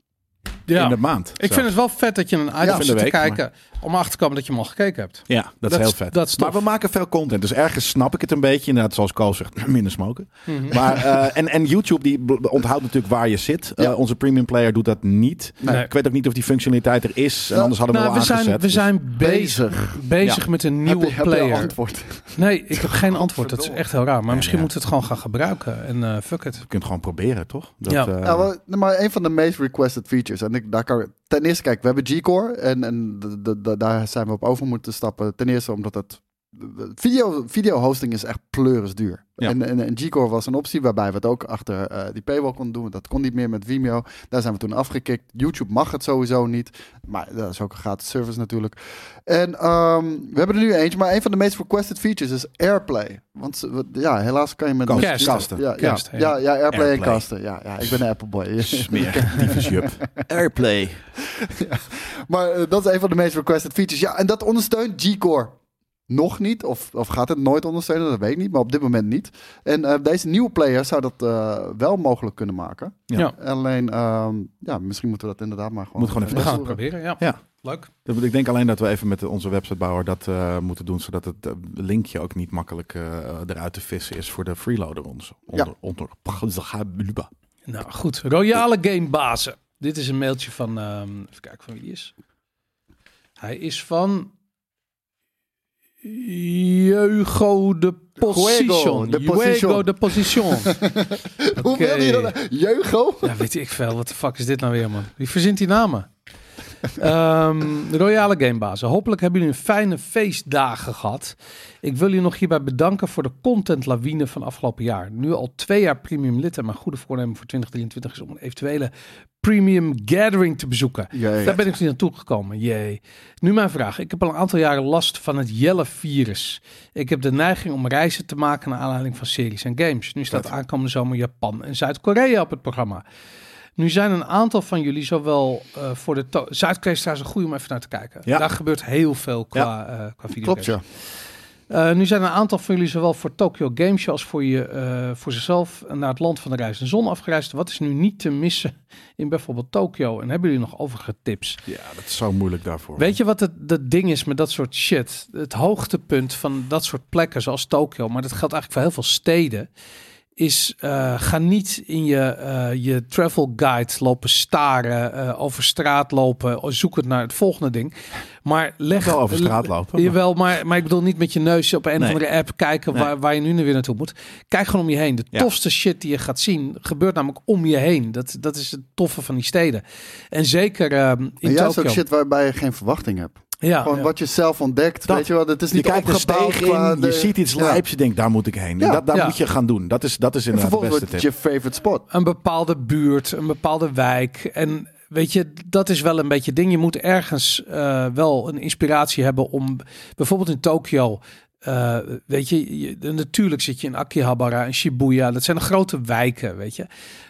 Speaker 2: Ja.
Speaker 3: In de maand.
Speaker 2: Ik
Speaker 3: Zo.
Speaker 2: vind het wel vet dat je een item
Speaker 3: Ja, van de
Speaker 2: zit te
Speaker 3: week,
Speaker 2: kijken om achter te komen dat je hem al gekeken hebt.
Speaker 3: Ja, dat, is heel vet.
Speaker 2: dat is
Speaker 3: maar
Speaker 2: tof.
Speaker 3: we maken veel content, dus ergens snap ik het een beetje. Inderdaad, zoals Koos zegt, minder smoken. Maar, eh, en, en YouTube die b- onthoudt natuurlijk waar je zit.
Speaker 1: Ja.
Speaker 3: Eh, onze premium player doet dat niet.
Speaker 2: Nee.
Speaker 3: Ik weet ook niet of die functionaliteit er is. En
Speaker 1: Ja.
Speaker 3: anders hadden we
Speaker 2: Nou, we
Speaker 3: wel aangezet.
Speaker 2: zijn, we
Speaker 3: Dus-
Speaker 2: zijn bezig,
Speaker 1: Bezig.
Speaker 2: bezig met een nieuwe
Speaker 1: heb je, Heb je
Speaker 2: player.
Speaker 1: al antwoord?
Speaker 2: nee, ik heb geen antwoord. Dat is echt heel raar. Maar misschien
Speaker 3: ja.
Speaker 2: moeten we het gewoon gaan gebruiken. En eh, fuck it.
Speaker 3: Je kunt gewoon proberen, toch? Dat,
Speaker 2: Ja.
Speaker 3: eh,
Speaker 1: Nou, wel, maar een van de meest requested features. En ik, daar kan, ten eerste, kijk, we hebben G-Core. En, en d- d- d- daar zijn we op over moeten stappen. Ten eerste omdat het... Video, video hosting is echt pleuris duur.
Speaker 3: Ja.
Speaker 1: En, en, en G-Core was een optie waarbij we het ook achter eh, die paywall konden doen. Dat kon niet meer met Vimeo. Daar zijn we toen afgekikt. YouTube mag het sowieso niet. Maar dat is ook een gratis service natuurlijk. En ehm, we hebben er nu eentje. Maar een van de meest requested features is Airplay. Want ze- wat- ja, helaas kan je met...
Speaker 3: Kasten.
Speaker 1: Ja,
Speaker 3: Kasten.
Speaker 1: Ja, ja,
Speaker 2: Kasten,
Speaker 1: ja,
Speaker 2: ja.
Speaker 1: ja, Airplay, en
Speaker 3: Airplay.
Speaker 1: kasten. Ja, ja, ik ben een Appleboy.
Speaker 3: Smerig, tyfusjup. Airplay.
Speaker 1: Maar eh, dat is een van de meest requested features. Ja, en dat ondersteunt G-Core. Nog niet, of, of gaat het nooit ondersteunen, dat weet ik niet, maar op dit moment niet. En eh, deze nieuwe player zou dat eh, wel mogelijk kunnen maken.
Speaker 3: Ja.
Speaker 2: Ja.
Speaker 1: Alleen, ehm, ja, misschien moeten we dat inderdaad maar gewoon...
Speaker 3: Moet gewoon even
Speaker 2: We gaan het
Speaker 1: uitvoeren.
Speaker 2: proberen. Ja.
Speaker 3: Ja.
Speaker 2: Leuk.
Speaker 3: Ik denk alleen dat we even met onze websitebouwer dat eh, moeten doen, zodat het eh, linkje ook niet makkelijk eh, eruit te vissen is voor de freeloader ons. Onder,
Speaker 1: Ja.
Speaker 3: onder,
Speaker 2: Nou goed. Royale Gamebazen. Dit is een mailtje van. ehm, even kijken van wie die is. Hij is van. Juego de Position.
Speaker 1: de Position.
Speaker 2: Juego de Position.
Speaker 1: Hoe
Speaker 2: Oké.
Speaker 1: wil je dat? Jeugo?
Speaker 2: Ja, weet ik veel. Wat de fuck is dit nou weer, man? Wie verzint die namen? Ehm, de Royale Gamebazen. Hopelijk hebben jullie een fijne feestdagen gehad. Ik wil jullie nog hierbij bedanken voor de contentlawine van afgelopen jaar. Nu al twee jaar premium lid en mijn goede voornemen voor 2023 is om een eventuele premium gathering te bezoeken.
Speaker 1: Jee.
Speaker 2: Daar ben ik niet naartoe gekomen. Jee. Nu mijn vraag. Ik heb al een aantal jaren last van het Jelle-virus. Ik heb de neiging om reizen te maken naar aanleiding van series en games. Nu staat aankomende zomer Japan en Zuid-Korea op het programma. Nu zijn een aantal van jullie zowel eh, voor de... to- Zuid-Korea is trouwens een goede om even naar te kijken.
Speaker 3: Ja.
Speaker 2: Daar gebeurt heel veel qua, eh qua videogames.
Speaker 1: Klopt, ja.
Speaker 2: Eh, nu zijn een aantal van jullie zowel voor Tokyo Game Show als voor, je, eh, voor zichzelf naar het land van de reizende zon afgereisd. Wat is nu niet te missen in bijvoorbeeld Tokyo? En hebben jullie nog overige tips?
Speaker 3: Ja, dat is zo moeilijk daarvoor.
Speaker 2: Weet je wat het, het ding is met dat soort shit? Het hoogtepunt van dat soort plekken zoals Tokio, maar dat geldt eigenlijk voor heel veel steden, is eh, ga niet in je, eh, je travel guide lopen staren, eh, over straat lopen, oh, zoekend naar het volgende ding. Maar leg...
Speaker 3: Wel over straat lopen. maar-
Speaker 2: Jawel, maar, maar ik bedoel niet met je neus op een
Speaker 3: Nee.
Speaker 2: of andere app kijken
Speaker 3: Nee.
Speaker 2: waar, waar je nu weer naartoe moet. Kijk gewoon om je heen. De
Speaker 3: Ja.
Speaker 2: tofste shit die je gaat zien gebeurt namelijk om je heen. Dat, dat is het toffe van die steden. En zeker ehm,
Speaker 1: En
Speaker 2: in
Speaker 1: juist
Speaker 2: Tokio.
Speaker 1: ook shit waarbij je geen verwachting hebt.
Speaker 2: Ja,
Speaker 1: Gewoon
Speaker 2: ja.
Speaker 1: wat je zelf ontdekt.
Speaker 3: Dat-
Speaker 1: weet je wel, het is
Speaker 3: je
Speaker 1: niet
Speaker 3: kijkt een
Speaker 1: opgebouwd
Speaker 3: steeg
Speaker 1: qua
Speaker 3: in, je
Speaker 1: de-
Speaker 3: ziet iets
Speaker 1: Ja.
Speaker 3: lijps, je denkt daar moet ik heen. En
Speaker 1: Ja.
Speaker 3: dat, daar
Speaker 2: Ja.
Speaker 3: moet je gaan doen. Dat is, dat is
Speaker 1: En
Speaker 3: inderdaad de
Speaker 1: vervolgens
Speaker 3: beste
Speaker 1: wordt het
Speaker 3: tip.
Speaker 1: je favorite spot.
Speaker 2: een bepaalde buurt, een bepaalde wijk. En weet je, dat is wel een beetje het ding. Je moet ergens eh, wel een inspiratie hebben om bijvoorbeeld in Tokio. eh, weet je, je- natuurlijk zit je in Akihabara en Shibuya. Dat zijn de grote wijken, weet je.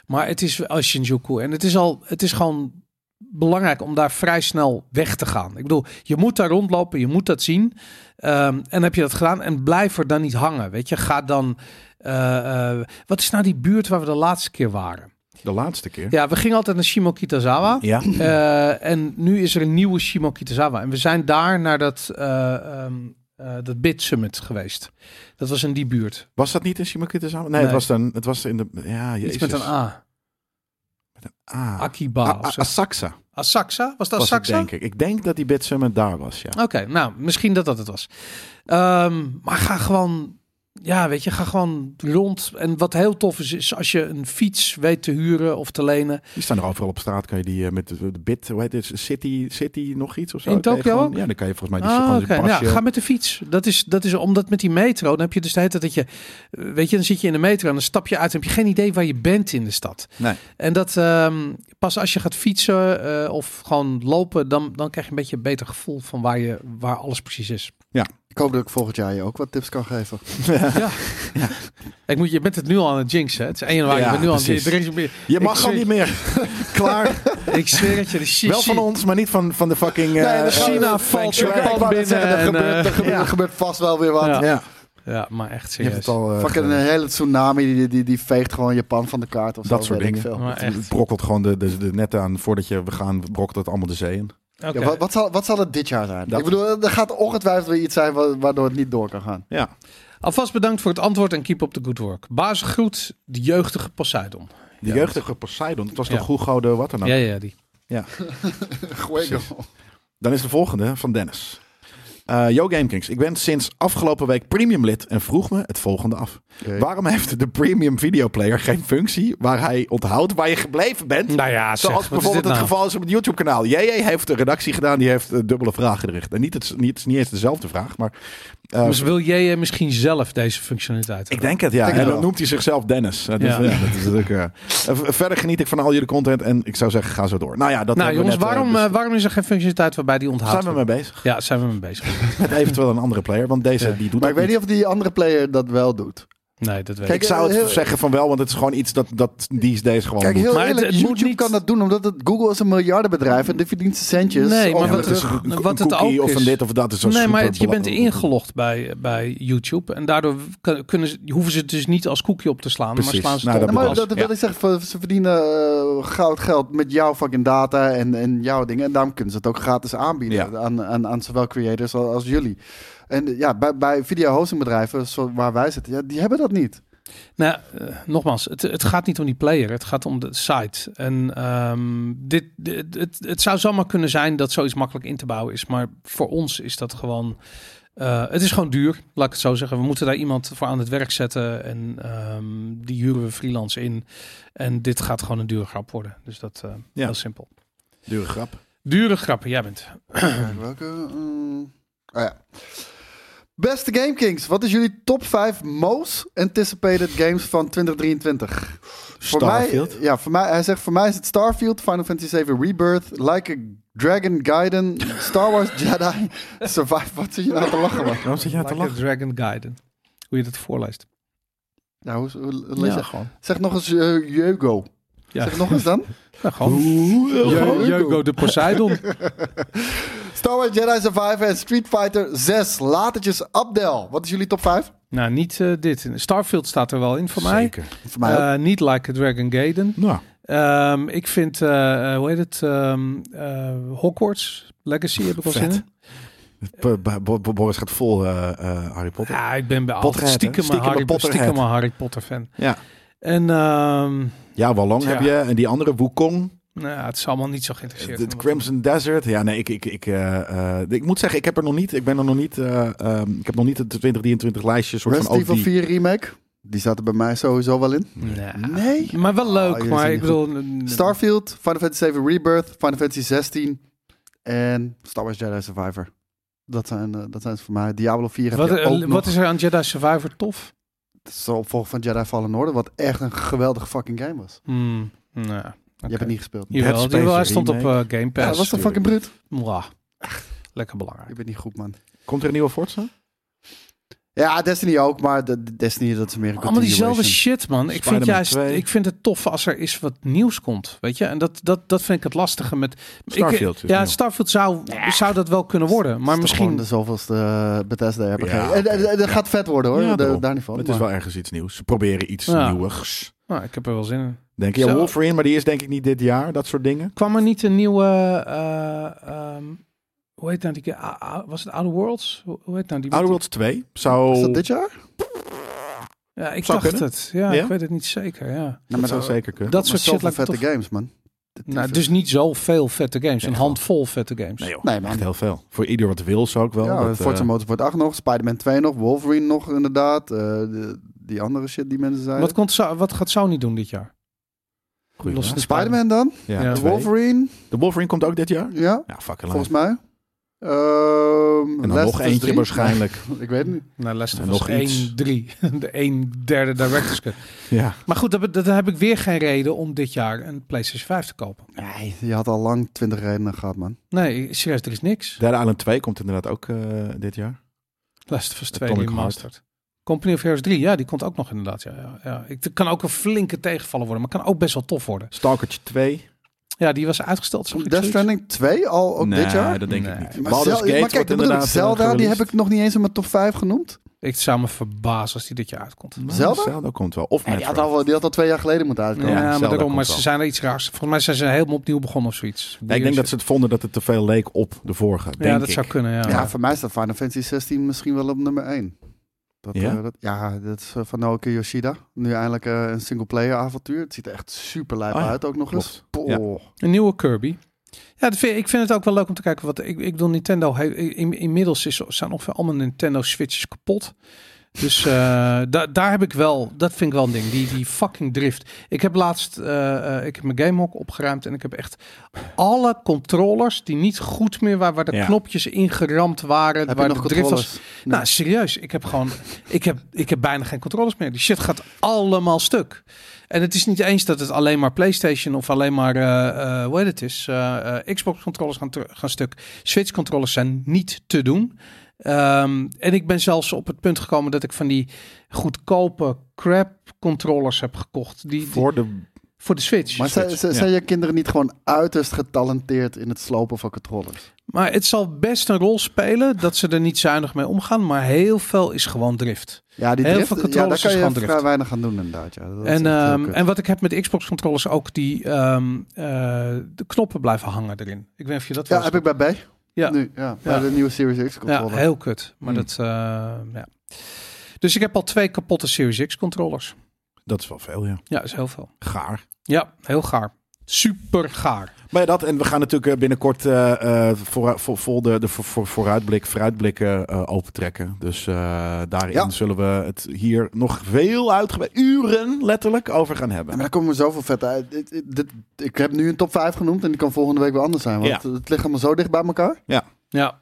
Speaker 2: Maar het is als Shinjuku. En het is al, het is gewoon belangrijk om daar vrij snel weg te gaan. Ik bedoel, je moet daar rondlopen, je moet dat zien. Ehm, en heb je dat gedaan en blijf er dan niet hangen. Weet je, ga dan. eh, eh, wat is nou die buurt waar we de laatste keer waren?
Speaker 3: De laatste keer.
Speaker 2: Ja, we gingen altijd naar Shimokitazawa.
Speaker 3: Ja.
Speaker 2: Eh, en nu is er een nieuwe Shimokitazawa. En we zijn daar naar dat, eh ehm, eh, dat Bit Summit geweest. Dat was in die buurt.
Speaker 3: Was dat niet in Shimakitazawa? Nee,
Speaker 2: Nee.
Speaker 3: het was dan, het was in de, ja, jezus.
Speaker 2: Iets met een A.
Speaker 3: Ah.
Speaker 2: Akiba.
Speaker 3: Ah,
Speaker 2: of
Speaker 3: ah,
Speaker 2: zo.
Speaker 3: Asakusa
Speaker 2: Asakusa? Was dat
Speaker 3: was het,
Speaker 2: Asakusa?
Speaker 3: denk ik. Ik denk dat die Bit Summit daar was, ja.
Speaker 2: Oké, nou, misschien dat dat het was. Ehm, maar ga gewoon, ja, weet je, ga gewoon rond. En wat heel tof is, is als je een fiets weet te huren of te lenen.
Speaker 3: Die staan er overal op straat. Kan je die eh, met de, de Bit, hoe heet het, City, City nog iets of zo?
Speaker 2: In
Speaker 3: Kan je
Speaker 2: Tokio
Speaker 3: gewoon-
Speaker 2: ook?
Speaker 3: Ja, dan kan je volgens mij die
Speaker 2: Ah,
Speaker 3: gewoon
Speaker 2: oké.
Speaker 3: een
Speaker 2: Ja,
Speaker 3: pasje.
Speaker 2: ga met de fiets. Dat is, dat is omdat met die metro, dan heb je dus de hele tijd dat je, eh, weet je, dan zit je in de metro en dan stap je uit en heb je geen idee waar je bent in de stad.
Speaker 3: Nee.
Speaker 2: En dat ehm, pas als je gaat fietsen eh, of gewoon lopen, dan, dan krijg je een beetje een beter gevoel van waar, je, waar alles precies is.
Speaker 1: Ik hoop dat ik volgend jaar je ook wat tips kan geven.
Speaker 2: Ik moet, je bent het nu al aan het jinxen. hè? Het is 1 januari,
Speaker 3: Ja,
Speaker 2: je bent nu al aan
Speaker 3: precies.
Speaker 2: het jinxen.
Speaker 3: Je
Speaker 2: Ik
Speaker 3: mag al
Speaker 2: zweer-
Speaker 3: niet meer. Klaar.
Speaker 2: Ik zweer het je, de shit.
Speaker 3: Wel van ons, maar niet van, van de fucking... eh,
Speaker 1: Nee, de
Speaker 3: eh, Frank
Speaker 2: China valt
Speaker 3: Shrek.
Speaker 2: Japan
Speaker 1: Ik wou net zeggen, er,
Speaker 2: binnen en,
Speaker 1: gebeurt, er,
Speaker 2: eh,
Speaker 1: gebeurt, er gebeurt vast wel weer wat.
Speaker 2: Ja.
Speaker 3: eh, Ja,
Speaker 2: Ja, maar echt
Speaker 3: je hebt het
Speaker 2: serieus.
Speaker 3: al... eh,
Speaker 1: Fucking een hele tsunami die, die, die veegt gewoon Japan van de kaart of zo,
Speaker 3: Dat soort
Speaker 1: weet ik
Speaker 3: dingen.
Speaker 1: veel.
Speaker 2: Maar
Speaker 3: Het
Speaker 2: echt.
Speaker 3: brokkelt gewoon de, de, de netten aan voordat je we gaan, brokkelt het allemaal de zee in.
Speaker 2: Oké.
Speaker 1: Ja, wat, wat, zal, wat zal het dit jaar zijn?
Speaker 3: Dat-
Speaker 1: Ik bedoel, er gaat ongetwijfeld weer iets zijn wa- waardoor het niet door kan gaan.
Speaker 3: Ja.
Speaker 2: Alvast bedankt voor het antwoord en keep up the good work. Baas groet de jeugdige Poseidon.
Speaker 3: De
Speaker 2: Ja,
Speaker 3: jeugdige Poseidon, dat was
Speaker 2: Ja.
Speaker 3: toch Hugo de wat dan ook.
Speaker 2: Ja, ja, die.
Speaker 1: Goeie
Speaker 3: Precies. Dan is de volgende van Dennis. Eh Yo Gamekings, ik ben sinds afgelopen week premium lid en vroeg me het volgende af. Waarom heeft de premium videoplayer geen functie waar hij onthoudt waar je gebleven bent?
Speaker 2: Nou ja, zeg,
Speaker 3: Zoals
Speaker 2: wat is dit
Speaker 3: bijvoorbeeld het
Speaker 2: nou?
Speaker 3: geval is op het YouTube-kanaal. JJ heeft een redactie gedaan, die heeft eh, dubbele vragen gericht. En niet, het, niet, het is niet eens dezelfde vraag, maar... eh,
Speaker 2: Dus wil jij eh, misschien zelf deze functionaliteit?
Speaker 3: Ik denk het, ja.
Speaker 1: Denk
Speaker 3: en
Speaker 1: het
Speaker 3: dan
Speaker 1: wel.
Speaker 3: noemt hij zichzelf Dennis. Eh, dus,
Speaker 2: Ja.
Speaker 3: ja. dat is natuurlijk, eh, eh, v- verder geniet ik van al jullie content en ik zou zeggen, ga zo door. Nou ja, dat
Speaker 2: nou
Speaker 3: hebben we
Speaker 2: jongens,
Speaker 3: net, eh,
Speaker 2: waarom,
Speaker 3: bes-
Speaker 2: eh, waarom is er geen functionaliteit waarbij die onthoudt?
Speaker 3: zijn we mee bezig?
Speaker 2: Ja, zijn we mee bezig.
Speaker 3: Met eventueel een andere player, want deze
Speaker 2: Ja.
Speaker 3: die doet
Speaker 1: Maar
Speaker 3: dat
Speaker 1: ik weet niet of die andere player dat wel doet.
Speaker 2: Nee, dat weet
Speaker 1: Kijk,
Speaker 2: ik.
Speaker 3: Ik zou het
Speaker 1: Heel-
Speaker 3: zeggen van wel, want het is gewoon iets dat, dat these days gewoon
Speaker 1: Kijk,
Speaker 3: Oh, moet.
Speaker 1: heel
Speaker 2: Maar het-
Speaker 1: eerlijk,
Speaker 2: het moet
Speaker 1: YouTube
Speaker 2: niet-
Speaker 1: kan dat doen omdat het, Google is een miljardenbedrijf en die verdient zijn centjes.
Speaker 2: Nee, maar
Speaker 1: over
Speaker 3: Ja,
Speaker 2: wat
Speaker 1: terug.
Speaker 2: het-
Speaker 3: een,
Speaker 2: wat
Speaker 3: een
Speaker 2: het
Speaker 3: cookie
Speaker 2: ook
Speaker 3: of een
Speaker 2: is.
Speaker 3: dit of dat is zo
Speaker 2: Nee, maar het- je
Speaker 3: superbela-
Speaker 2: bent ingelogd bij, eh, bij YouTube. En daardoor kun- kunnen ze, hoeven ze het dus niet als cookie op te slaan. Maar
Speaker 3: Precies.
Speaker 2: slaan ze
Speaker 3: Nou,
Speaker 2: het
Speaker 1: Ja,
Speaker 2: op.
Speaker 3: bedoel
Speaker 1: maar
Speaker 3: ik.
Speaker 1: dat wil
Speaker 3: Ja.
Speaker 1: ik zeggen, voor- ze verdienen eh, goud geld met jouw fucking data en, en jouw dingen. En daarom kunnen ze het ook gratis aanbieden
Speaker 3: Ja.
Speaker 1: aan, aan, aan zowel creators als, als jullie. En eh, ja, bij, bij video hostingbedrijven zo- waar wij zitten, ja, die hebben dat niet.
Speaker 2: Nou, eh, nogmaals, het, het gaat niet om die player, het gaat om de site. En ehm, dit, dit- het, het zou zomaar kunnen zijn dat zoiets makkelijk in te bouwen is, maar voor ons is dat gewoon. eh, het is gewoon duur, laat ik het zo zeggen. We moeten daar iemand voor aan het werk zetten en ehm, die huren we freelance in. En dit gaat gewoon een dure grap worden. Dus dat eh
Speaker 3: Ja.
Speaker 2: heel simpel.
Speaker 3: Dure grap.
Speaker 2: Dure grappen, jij bent.
Speaker 1: Kijk, Welke? mm, oh ja. Beste GameKings, wat is jullie top 5 most anticipated games van 2023?
Speaker 3: Starfield.
Speaker 1: Voor mij, ja, voor mij, hij zegt voor mij is het Starfield, Final Fantasy VII Rebirth, Like a Dragon, Gaiden, Star Wars Jedi, Survive. Wat zit je nou te lachen, man?
Speaker 3: Waarom zit je aan te
Speaker 2: Like a
Speaker 3: lachen?
Speaker 2: Dragon Guiden. Hoe je dat voorleest.
Speaker 1: Ja, hoe, hoe- hoe lees je-
Speaker 2: gewoon.
Speaker 1: Zeg nog eens eh, Jugo.
Speaker 2: Ja.
Speaker 1: Zeg nog eens dan.
Speaker 2: Ja, gewoon. Ju- Jugo de Poseidon.
Speaker 1: Star Wars Jedi Survivor en Street Fighter 6. Latertjes Abdel. Wat is jullie top 5?
Speaker 2: Nou, niet eh, dit. Starfield staat er wel in voor mij.
Speaker 3: Zeker.
Speaker 1: Voor mij ook.
Speaker 2: Eh, niet Like a Dragon Gaiden.
Speaker 3: Nou,
Speaker 2: Ehm, ik vind, eh, eh, hoe heet het? Ehm, eh, Hogwarts Legacy heb ik wel zin
Speaker 3: Vet.
Speaker 2: in.
Speaker 3: Bo- Bo- Bo- Boris gaat vol eh, eh, Harry Potter.
Speaker 2: Ja, ik ben bij altijd
Speaker 3: Potterhead, hè?
Speaker 2: stiekem, een
Speaker 3: Stiekem een
Speaker 2: Harry,
Speaker 3: Potterhead.
Speaker 2: stiekem een Harry Potter fan.
Speaker 3: Ja,
Speaker 2: En ehm,
Speaker 3: ja Wallong
Speaker 2: Tja.
Speaker 3: heb je. En die andere, Wukong.
Speaker 2: nou, ja, het is allemaal niet zo geïnteresseerd.
Speaker 3: Het Eh, Crimson Desert. Ja, nee, ik, ik, ik, eh, eh, ik moet zeggen, ik heb er nog niet. Ik ben er nog niet. eh, ehm, ik heb nog niet het 2023 lijstje. Soort van
Speaker 1: Resident
Speaker 3: ook
Speaker 1: Evil
Speaker 3: die.
Speaker 1: 4 Remake. Die staat er bij mij sowieso wel in.
Speaker 2: Nee.
Speaker 1: Nee.
Speaker 2: Maar wel
Speaker 1: Oh,
Speaker 2: leuk,
Speaker 1: jullie
Speaker 2: maar
Speaker 1: zijn
Speaker 2: ik
Speaker 1: niet
Speaker 2: bedoel... eh, n- n-
Speaker 1: Starfield, Final Fantasy VII Rebirth, Final Fantasy 16 en Star Wars Jedi Survivor. Dat zijn, eh, dat zijn ze voor mij. Diablo 4 heb
Speaker 2: Wat,
Speaker 1: je
Speaker 2: eh,
Speaker 1: ook
Speaker 2: wat
Speaker 1: nog.
Speaker 2: is er aan Jedi Survivor tof?
Speaker 1: Het is de opvolger van Jedi Fallen Order, wat echt een geweldige fucking game was.
Speaker 2: Hmm, nou, oké.
Speaker 1: Je hebt het niet gespeeld.
Speaker 3: Dead
Speaker 2: Jawel,
Speaker 3: Space
Speaker 2: jawel, hij stond op
Speaker 3: remake.
Speaker 2: eh, Game
Speaker 1: Ja,
Speaker 2: Pass.
Speaker 1: dat was toch fucking bruut?
Speaker 2: Mwah. Lekker
Speaker 1: Je
Speaker 2: belangrijk.
Speaker 1: bent niet goed, man.
Speaker 3: Komt er een nieuwe Forza?
Speaker 1: Ja, Destiny ook, maar de, de Destiny dat is meer een
Speaker 2: Allemaal diezelfde
Speaker 1: continuation.
Speaker 2: shit, man. Ik vind,
Speaker 3: Spider-Man
Speaker 2: juist,
Speaker 3: 2.
Speaker 2: ik vind het tof als er is wat nieuws komt. Weet je? En dat, dat, dat vind ik het lastige met... ik-
Speaker 3: Starfield is
Speaker 2: eh, ja,
Speaker 3: nieuw.
Speaker 2: Starfield zou, zou dat wel kunnen worden.
Speaker 1: Het
Speaker 2: Maar
Speaker 1: is toch gewoon
Speaker 2: misschien...
Speaker 1: de zoveelste eh, Bethesda RPG.
Speaker 3: Ja,
Speaker 1: en, en- en dat gaat vet worden hoor,
Speaker 3: Ja,
Speaker 1: De-
Speaker 3: daarom.
Speaker 1: daar niet van.
Speaker 3: het
Speaker 1: maar-
Speaker 3: is wel ergens iets nieuws. Ze proberen iets
Speaker 2: Ja.
Speaker 3: nieuwigs.
Speaker 2: Nou, ik heb er wel zin in.
Speaker 3: Denk je, ja,
Speaker 2: Zo.
Speaker 3: Wolverine, maar die is denk ik niet dit jaar. Dat soort dingen.
Speaker 2: Kwam er niet een nieuwe... eh, ehm, hoe heet nou die... keer? Ah, ah, Was het Outer Worlds? Hoe hoe heet nou die...
Speaker 3: Outer Worlds 2 zou...
Speaker 1: Is dat dit jaar?
Speaker 2: Ja, ik
Speaker 3: Zou
Speaker 2: dacht
Speaker 3: kunnen.
Speaker 2: het. Ja,
Speaker 3: Ja?
Speaker 2: ik weet het niet zeker. Ja.
Speaker 3: dat zou zeker kunnen.
Speaker 2: Dat
Speaker 1: Nou, Maar
Speaker 2: soort shit
Speaker 1: zoveel
Speaker 2: lijkt me
Speaker 1: vette
Speaker 2: tof.
Speaker 1: games, man.
Speaker 2: Nou, dus niet zoveel vette games.
Speaker 3: Nee,
Speaker 2: een
Speaker 3: gewoon.
Speaker 2: handvol vette games.
Speaker 3: Nee, joh,
Speaker 1: Nee, man.
Speaker 3: echt heel veel. Voor ieder wat wil zou ik wel.
Speaker 1: ja,
Speaker 3: dat,
Speaker 1: Forza
Speaker 3: eh,
Speaker 1: Motorsport 8 nog, Spider-Man 2 nog, Wolverine nog inderdaad. eh, de- die andere shit die mensen zeiden.
Speaker 2: Wat,
Speaker 3: eh,
Speaker 2: komt, Sa- wat gaat Sony doen dit jaar?
Speaker 3: goeie
Speaker 2: Los-
Speaker 3: vraag.
Speaker 1: De Spider-Man dan?
Speaker 3: Ja,
Speaker 2: Ja.
Speaker 1: De
Speaker 3: twee.
Speaker 1: Wolverine,
Speaker 3: De Wolverine komt ook dit jaar?
Speaker 1: ja,
Speaker 3: Ja, fucking lang.
Speaker 1: volgens mij. Ehm,
Speaker 3: En dan
Speaker 1: Last
Speaker 3: nog
Speaker 1: of Us
Speaker 3: eentje
Speaker 1: 3.
Speaker 3: waarschijnlijk.
Speaker 1: Ik weet het niet.
Speaker 2: Nou, Last
Speaker 3: En
Speaker 2: of Us
Speaker 3: nog
Speaker 2: 1,
Speaker 3: iets.
Speaker 2: 3. De 1 derde director's cut.
Speaker 3: ja.
Speaker 2: Maar goed, dat, dat heb ik weer geen reden om dit jaar een PlayStation 5 te kopen.
Speaker 1: Nee, je had al lang 20 redenen gehad, man.
Speaker 2: Nee, serieus, er is niks.
Speaker 3: Dead Island 2 komt inderdaad ook eh, dit jaar.
Speaker 2: Last of Us 2
Speaker 3: Atomic
Speaker 2: remastered. Company of Heroes 3, ja, die komt ook nog inderdaad. Ja, ja, ja. Ik, het kan ook een flinke tegenvaller worden, maar kan ook best wel tof worden.
Speaker 3: Stalkertje 2.
Speaker 2: Ja, die was uitgesteld. zag ik
Speaker 1: Death
Speaker 2: zoiets.
Speaker 1: Stranding 2 al ook dit jaar?
Speaker 3: dat denk
Speaker 2: Nee.
Speaker 3: ik niet.
Speaker 1: Maar,
Speaker 3: Baldur's
Speaker 1: Zel-
Speaker 3: Gate
Speaker 1: maar
Speaker 3: wordt
Speaker 1: kijk, dat bedoel ik.
Speaker 3: inderdaad, eh,
Speaker 1: Zelda, die
Speaker 3: gereleased.
Speaker 1: heb ik nog niet eens in mijn top 5 genoemd.
Speaker 2: Ik zou me verbazen als die dit jaar uitkomt.
Speaker 3: Nou,
Speaker 1: Zelda?
Speaker 3: Zelda komt wel. Of
Speaker 1: Nee, die, had
Speaker 3: Metroid.
Speaker 1: al, die had al twee jaar geleden moeten
Speaker 2: Ja,
Speaker 1: uitkomen.
Speaker 2: maar,
Speaker 3: Zelda
Speaker 2: daarom,
Speaker 3: komt
Speaker 2: maar ze
Speaker 3: wel.
Speaker 2: zijn er iets raars. Volgens mij zijn ze helemaal opnieuw begonnen of zoiets.
Speaker 3: Nee, ik denk dat ze het vonden dat het te veel leek op de vorige.
Speaker 2: Ja,
Speaker 3: denk
Speaker 2: dat
Speaker 3: ik.
Speaker 2: zou kunnen, ja.
Speaker 1: Ja, voor mij staat Final Fantasy 16 misschien wel op nummer 1. Dat,
Speaker 3: Ja?
Speaker 1: ja? dat, ja, dat is eh, van Naoki Yoshida. Nu eindelijk eh, een single-player avontuur. Het ziet er echt super lijp
Speaker 3: Oh ja,
Speaker 1: uit ook nog eens.
Speaker 3: klopt.
Speaker 1: Poh.
Speaker 2: Een nieuwe Kirby. Ja, dat vind, ik vind het ook wel leuk om te kijken. Wat, ik, ik bedoel, Nintendo... he- in- inmiddels is, zijn ongeveer allemaal Nintendo Switches kapot. Dus eh, da- daar heb ik wel... Dat vind ik wel een ding. Die, die fucking drift. Ik heb laatst... eh, eh, ik heb mijn gamehok opgeruimd. En ik heb echt alle controllers... die niet goed meer waren... waar de
Speaker 3: Ja.
Speaker 2: knopjes ingeramd waren.
Speaker 1: Heb je
Speaker 2: waar
Speaker 1: nog
Speaker 2: de drift was.
Speaker 1: controllers?
Speaker 2: Nou, serieus. Ik heb gewoon... ik, heb, ik heb bijna geen controllers meer. Die shit gaat allemaal stuk. En het is niet eens dat het alleen maar PlayStation of alleen maar, eh, eh, hoe heet het is, eh, eh, Xbox-controllers gaan, ter- gaan stuk. Switch-controllers zijn niet te doen. Ehm, en ik ben zelfs op het punt gekomen dat ik van die goedkope crap-controllers heb gekocht. Die, die- voor,
Speaker 3: Voor de...
Speaker 2: de Switch.
Speaker 1: Maar zijn, zijn,
Speaker 3: Ja.
Speaker 1: zijn je kinderen niet gewoon uiterst getalenteerd in het slopen van controllers?
Speaker 2: Maar het zal best een rol spelen dat ze er niet zuinig mee omgaan. Maar heel veel is gewoon drift.
Speaker 1: Ja, die
Speaker 2: Heel
Speaker 1: drift,
Speaker 2: veel
Speaker 1: ja, daar
Speaker 2: controllers
Speaker 1: kan
Speaker 2: is
Speaker 1: je
Speaker 2: gewoon
Speaker 1: vrij
Speaker 2: drift.
Speaker 1: weinig aan doen inderdaad. Ja. Dat is eh,
Speaker 2: En,
Speaker 1: echt heel
Speaker 2: ehm,
Speaker 1: kut.
Speaker 2: en wat ik heb met Xbox controllers ook die ehm, eh, de knoppen blijven hangen erin. Ik weet niet of je dat wel
Speaker 1: ja,
Speaker 2: eens
Speaker 1: heb ik bij B.
Speaker 2: Ja.
Speaker 1: Nu, ja, Bij de nieuwe Series X
Speaker 2: Ja,
Speaker 1: controller.
Speaker 2: heel kut. Maar
Speaker 3: Hmm.
Speaker 2: dat, eh, ja. Dus ik heb al twee kapotte Series X controllers.
Speaker 3: Dat is wel veel, ja.
Speaker 2: Ja, is heel veel.
Speaker 3: Gaar.
Speaker 2: Ja, heel gaar. Super gaar.
Speaker 3: Maar ja, dat, en we gaan natuurlijk eh, binnenkort eh, eh, voor, voor, voor de, de voor, voor- vooruitblik, vooruitblikken eh opentrekken. Dus eh, daarin
Speaker 1: Ja.
Speaker 3: zullen we het hier nog veel uitgebreid, uren letterlijk, over gaan
Speaker 1: Ja,
Speaker 3: hebben.
Speaker 1: maar daar komen we zoveel vet uit. Dit- dit- dit- ik heb nu een top 5 genoemd en die kan volgende week weer anders zijn. Want
Speaker 3: Ja.
Speaker 1: het ligt allemaal zo dicht bij elkaar.
Speaker 2: Ja.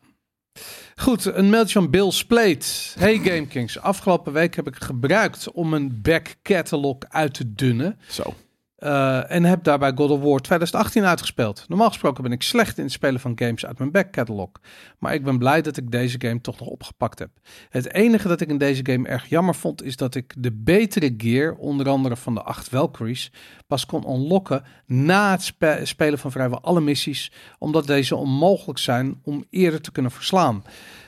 Speaker 2: Goed, een mailtje van Bill Spleet. Hey GameKings, afgelopen week heb ik gebruikt om een back catalog uit te dunnen.
Speaker 3: Zo.
Speaker 2: Eh, en heb daarbij God of War 2018 uitgespeeld. Normaal gesproken ben ik slecht in het spelen van games uit mijn back catalog. Maar ik ben blij dat ik deze game toch nog opgepakt heb. Het enige dat ik in deze game erg jammer vond is dat ik de betere gear, onder andere van de 8 Valkyries, pas kon unlocken na het spe- spelen van vrijwel alle missies, omdat deze onmogelijk zijn om eerder te kunnen verslaan.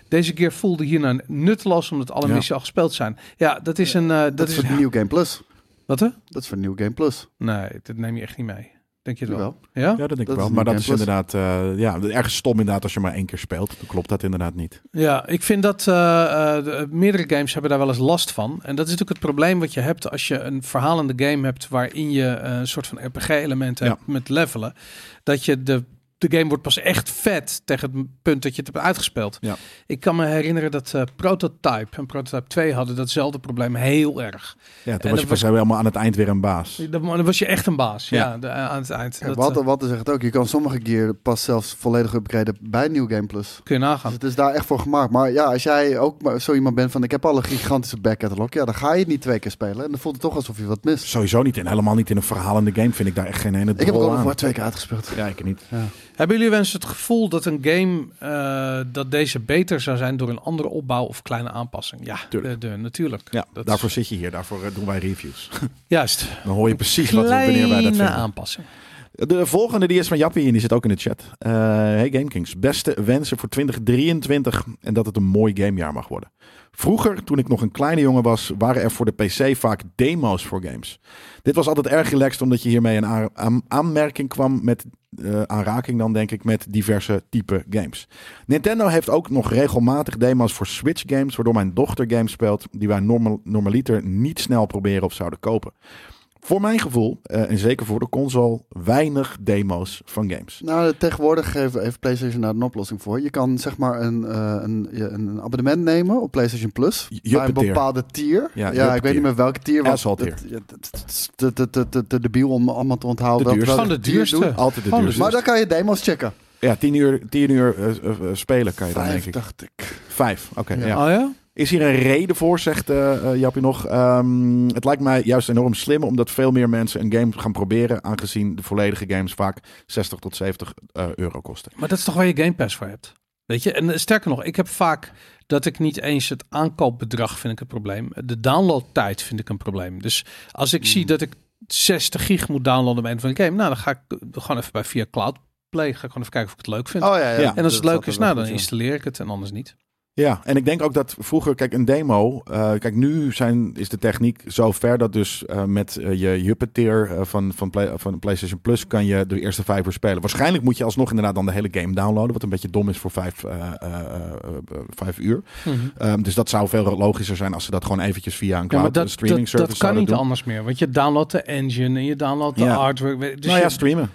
Speaker 2: Deze gear voelde hierna nutteloos omdat alle
Speaker 3: Ja.
Speaker 2: missies al gespeeld zijn. Ja, dat is een. eh, dat,
Speaker 1: Dat,
Speaker 2: is
Speaker 1: is voor New Game Plus.
Speaker 2: Wat hè?
Speaker 1: Dat is voor New Game Plus.
Speaker 2: Nee, dat neem je echt niet mee. Denk je het wel?
Speaker 1: Jawel.
Speaker 2: Ja?
Speaker 3: Ja, dat denk
Speaker 1: Dat
Speaker 3: ik wel.
Speaker 1: is
Speaker 3: Maar
Speaker 1: een
Speaker 3: dat is
Speaker 1: game
Speaker 3: inderdaad eh, ja, ergens stom inderdaad als je maar één keer speelt. Dan klopt dat inderdaad niet.
Speaker 2: Ja, ik vind dat eh, eh, de- meerdere games hebben daar wel eens last van. En dat is natuurlijk het probleem wat je hebt als je een verhalende game hebt waarin je eh, een soort van RPG-element
Speaker 3: Ja.
Speaker 2: hebt met levelen. Dat je de, de game wordt pas echt vet tegen het punt dat je het hebt uitgespeeld.
Speaker 3: Ja.
Speaker 2: Ik kan me herinneren dat eh, Prototype en Prototype 2 hadden datzelfde probleem heel erg.
Speaker 3: Ja,
Speaker 2: dat
Speaker 3: toen was je
Speaker 2: was-
Speaker 3: pas helemaal aan het eind weer een baas.
Speaker 2: Dan, dan was je echt een baas ja.
Speaker 3: Ja.
Speaker 2: de- aan het eind.
Speaker 1: Ja,
Speaker 2: Dat,
Speaker 1: wat,
Speaker 2: eh,
Speaker 1: wat zegt het ook. Je kan sommige gear pas zelfs volledig upgraden bij New Game Plus.
Speaker 2: kun je
Speaker 1: Dus
Speaker 2: nagaan.
Speaker 1: het is daar echt voor gemaakt. Maar ja, als jij ook maar zo iemand bent van ik heb al een gigantische backcatalog, ja, dan ga je het niet twee keer spelen. En dan voelt het toch alsof je wat mist.
Speaker 3: Sowieso niet. En helemaal niet in een verhalende game vind ik daar echt geen ene
Speaker 1: Ik heb
Speaker 3: drol
Speaker 1: ook nog
Speaker 3: aan.
Speaker 1: maar twee keer uitgespeeld.
Speaker 3: Ja, ik niet.
Speaker 2: Hebben jullie wel eens het gevoel dat een game eh, dat deze beter zou zijn door een andere opbouw of kleine aanpassing? Ja,
Speaker 3: Tuurlijk.
Speaker 2: de- de- natuurlijk.
Speaker 3: Ja,
Speaker 2: Dat
Speaker 3: daarvoor
Speaker 2: is-
Speaker 3: zit je hier. Daarvoor eh, doen wij reviews.
Speaker 2: juist.
Speaker 3: Dan hoor je precies wat, we- wanneer wij dat
Speaker 2: Kleine
Speaker 3: vinden.
Speaker 2: aanpassing.
Speaker 3: De volgende die is van Jappie en die zit ook in de chat. Eh hey GameKings, beste wensen voor 2023 en dat het een mooi gamejaar mag worden. Vroeger, toen ik nog een kleine jongen was, waren er voor de PC vaak demo's voor games. Dit was altijd erg relaxed omdat je hiermee een aan- aan- aanmerking kwam met eh, aanraking dan denk ik met diverse type games. Nintendo heeft ook nog regelmatig demo's voor Switch games, waardoor mijn dochter games speelt die wij normal, normaliter niet snel proberen of zouden kopen. Voor mijn gevoel, eh, en zeker voor de console, weinig demo's van games.
Speaker 1: Nou, tegenwoordig geeft- heeft PlayStation daar een oplossing voor. Je kan zeg maar een, eh, een, je- een abonnement nemen op PlayStation Plus.
Speaker 3: J-
Speaker 1: Bij een
Speaker 3: juppeteer.
Speaker 1: bepaalde tier.
Speaker 3: Ja,
Speaker 1: Ja, ik
Speaker 3: juppeteer.
Speaker 1: weet niet meer welke tier. want
Speaker 3: Asshole
Speaker 1: dat- ja, dat- dat is Te te- te- te- te debiel om allemaal te onthouden.
Speaker 3: De
Speaker 1: welke-
Speaker 3: duurste.
Speaker 1: welke
Speaker 2: Van de
Speaker 1: tier
Speaker 2: duurste.
Speaker 1: doet.
Speaker 3: Altijd de
Speaker 2: Oh,
Speaker 3: duurste.
Speaker 1: dus- Maar dan kan je demo's checken.
Speaker 3: Ja, tien uur, tien uur eh, eh, eh, spelen kan je dan, denk
Speaker 1: Vijf,
Speaker 3: ik.
Speaker 1: dacht ik.
Speaker 3: Vijf, oké.
Speaker 1: Ja.
Speaker 3: ja.
Speaker 2: Oh ja?
Speaker 3: Is hier een reden voor, zegt eh eh, Jappie nog. Ehm, het lijkt mij juist enorm slim, omdat veel meer mensen een game gaan proberen, aangezien de volledige games vaak 60 tot 70 eh, euro kosten.
Speaker 2: Maar dat is toch waar je Game Pass voor hebt. Weet je, en eh, sterker nog, ik heb vaak dat ik niet eens het aankoopbedrag vind ik een probleem. De downloadtijd vind ik een probleem. Dus als ik
Speaker 3: Hmm.
Speaker 2: zie dat ik 60 gig moet downloaden bij een van een game, nou dan ga ik eh, gewoon even bij via Cloud Play, ga ik gewoon even kijken of ik het leuk vind.
Speaker 1: Oh ja, ja.
Speaker 3: Ja.
Speaker 2: en als het leuk
Speaker 1: dat zat
Speaker 2: is,
Speaker 1: er
Speaker 2: nou
Speaker 1: wel
Speaker 2: dan
Speaker 1: goed in.
Speaker 2: installeer ik het en anders niet.
Speaker 3: Ja, en ik denk ook dat vroeger, kijk, een demo. eh, kijk, nu zijn, is de techniek zo ver dat dus eh, met eh, je Jupiter eh, van, van, Play- van PlayStation Plus kan je de eerste vijf uur spelen. Waarschijnlijk moet je alsnog inderdaad dan de hele game downloaden, wat een beetje dom is voor vijf, eh, eh, eh, eh, vijf uur. Ehm, dus dat zou veel logischer zijn als ze dat gewoon eventjes via een
Speaker 2: Ja, maar
Speaker 3: cloud
Speaker 2: dat,
Speaker 3: een eh, streaming
Speaker 2: dat,
Speaker 3: service
Speaker 2: dat kan
Speaker 3: zouden
Speaker 2: niet
Speaker 3: doen.
Speaker 2: anders meer. Want je downloadt de engine en je downloadt de
Speaker 3: Ja.
Speaker 2: artwork. we- Dus
Speaker 3: nou ja,
Speaker 2: je-
Speaker 3: streamen.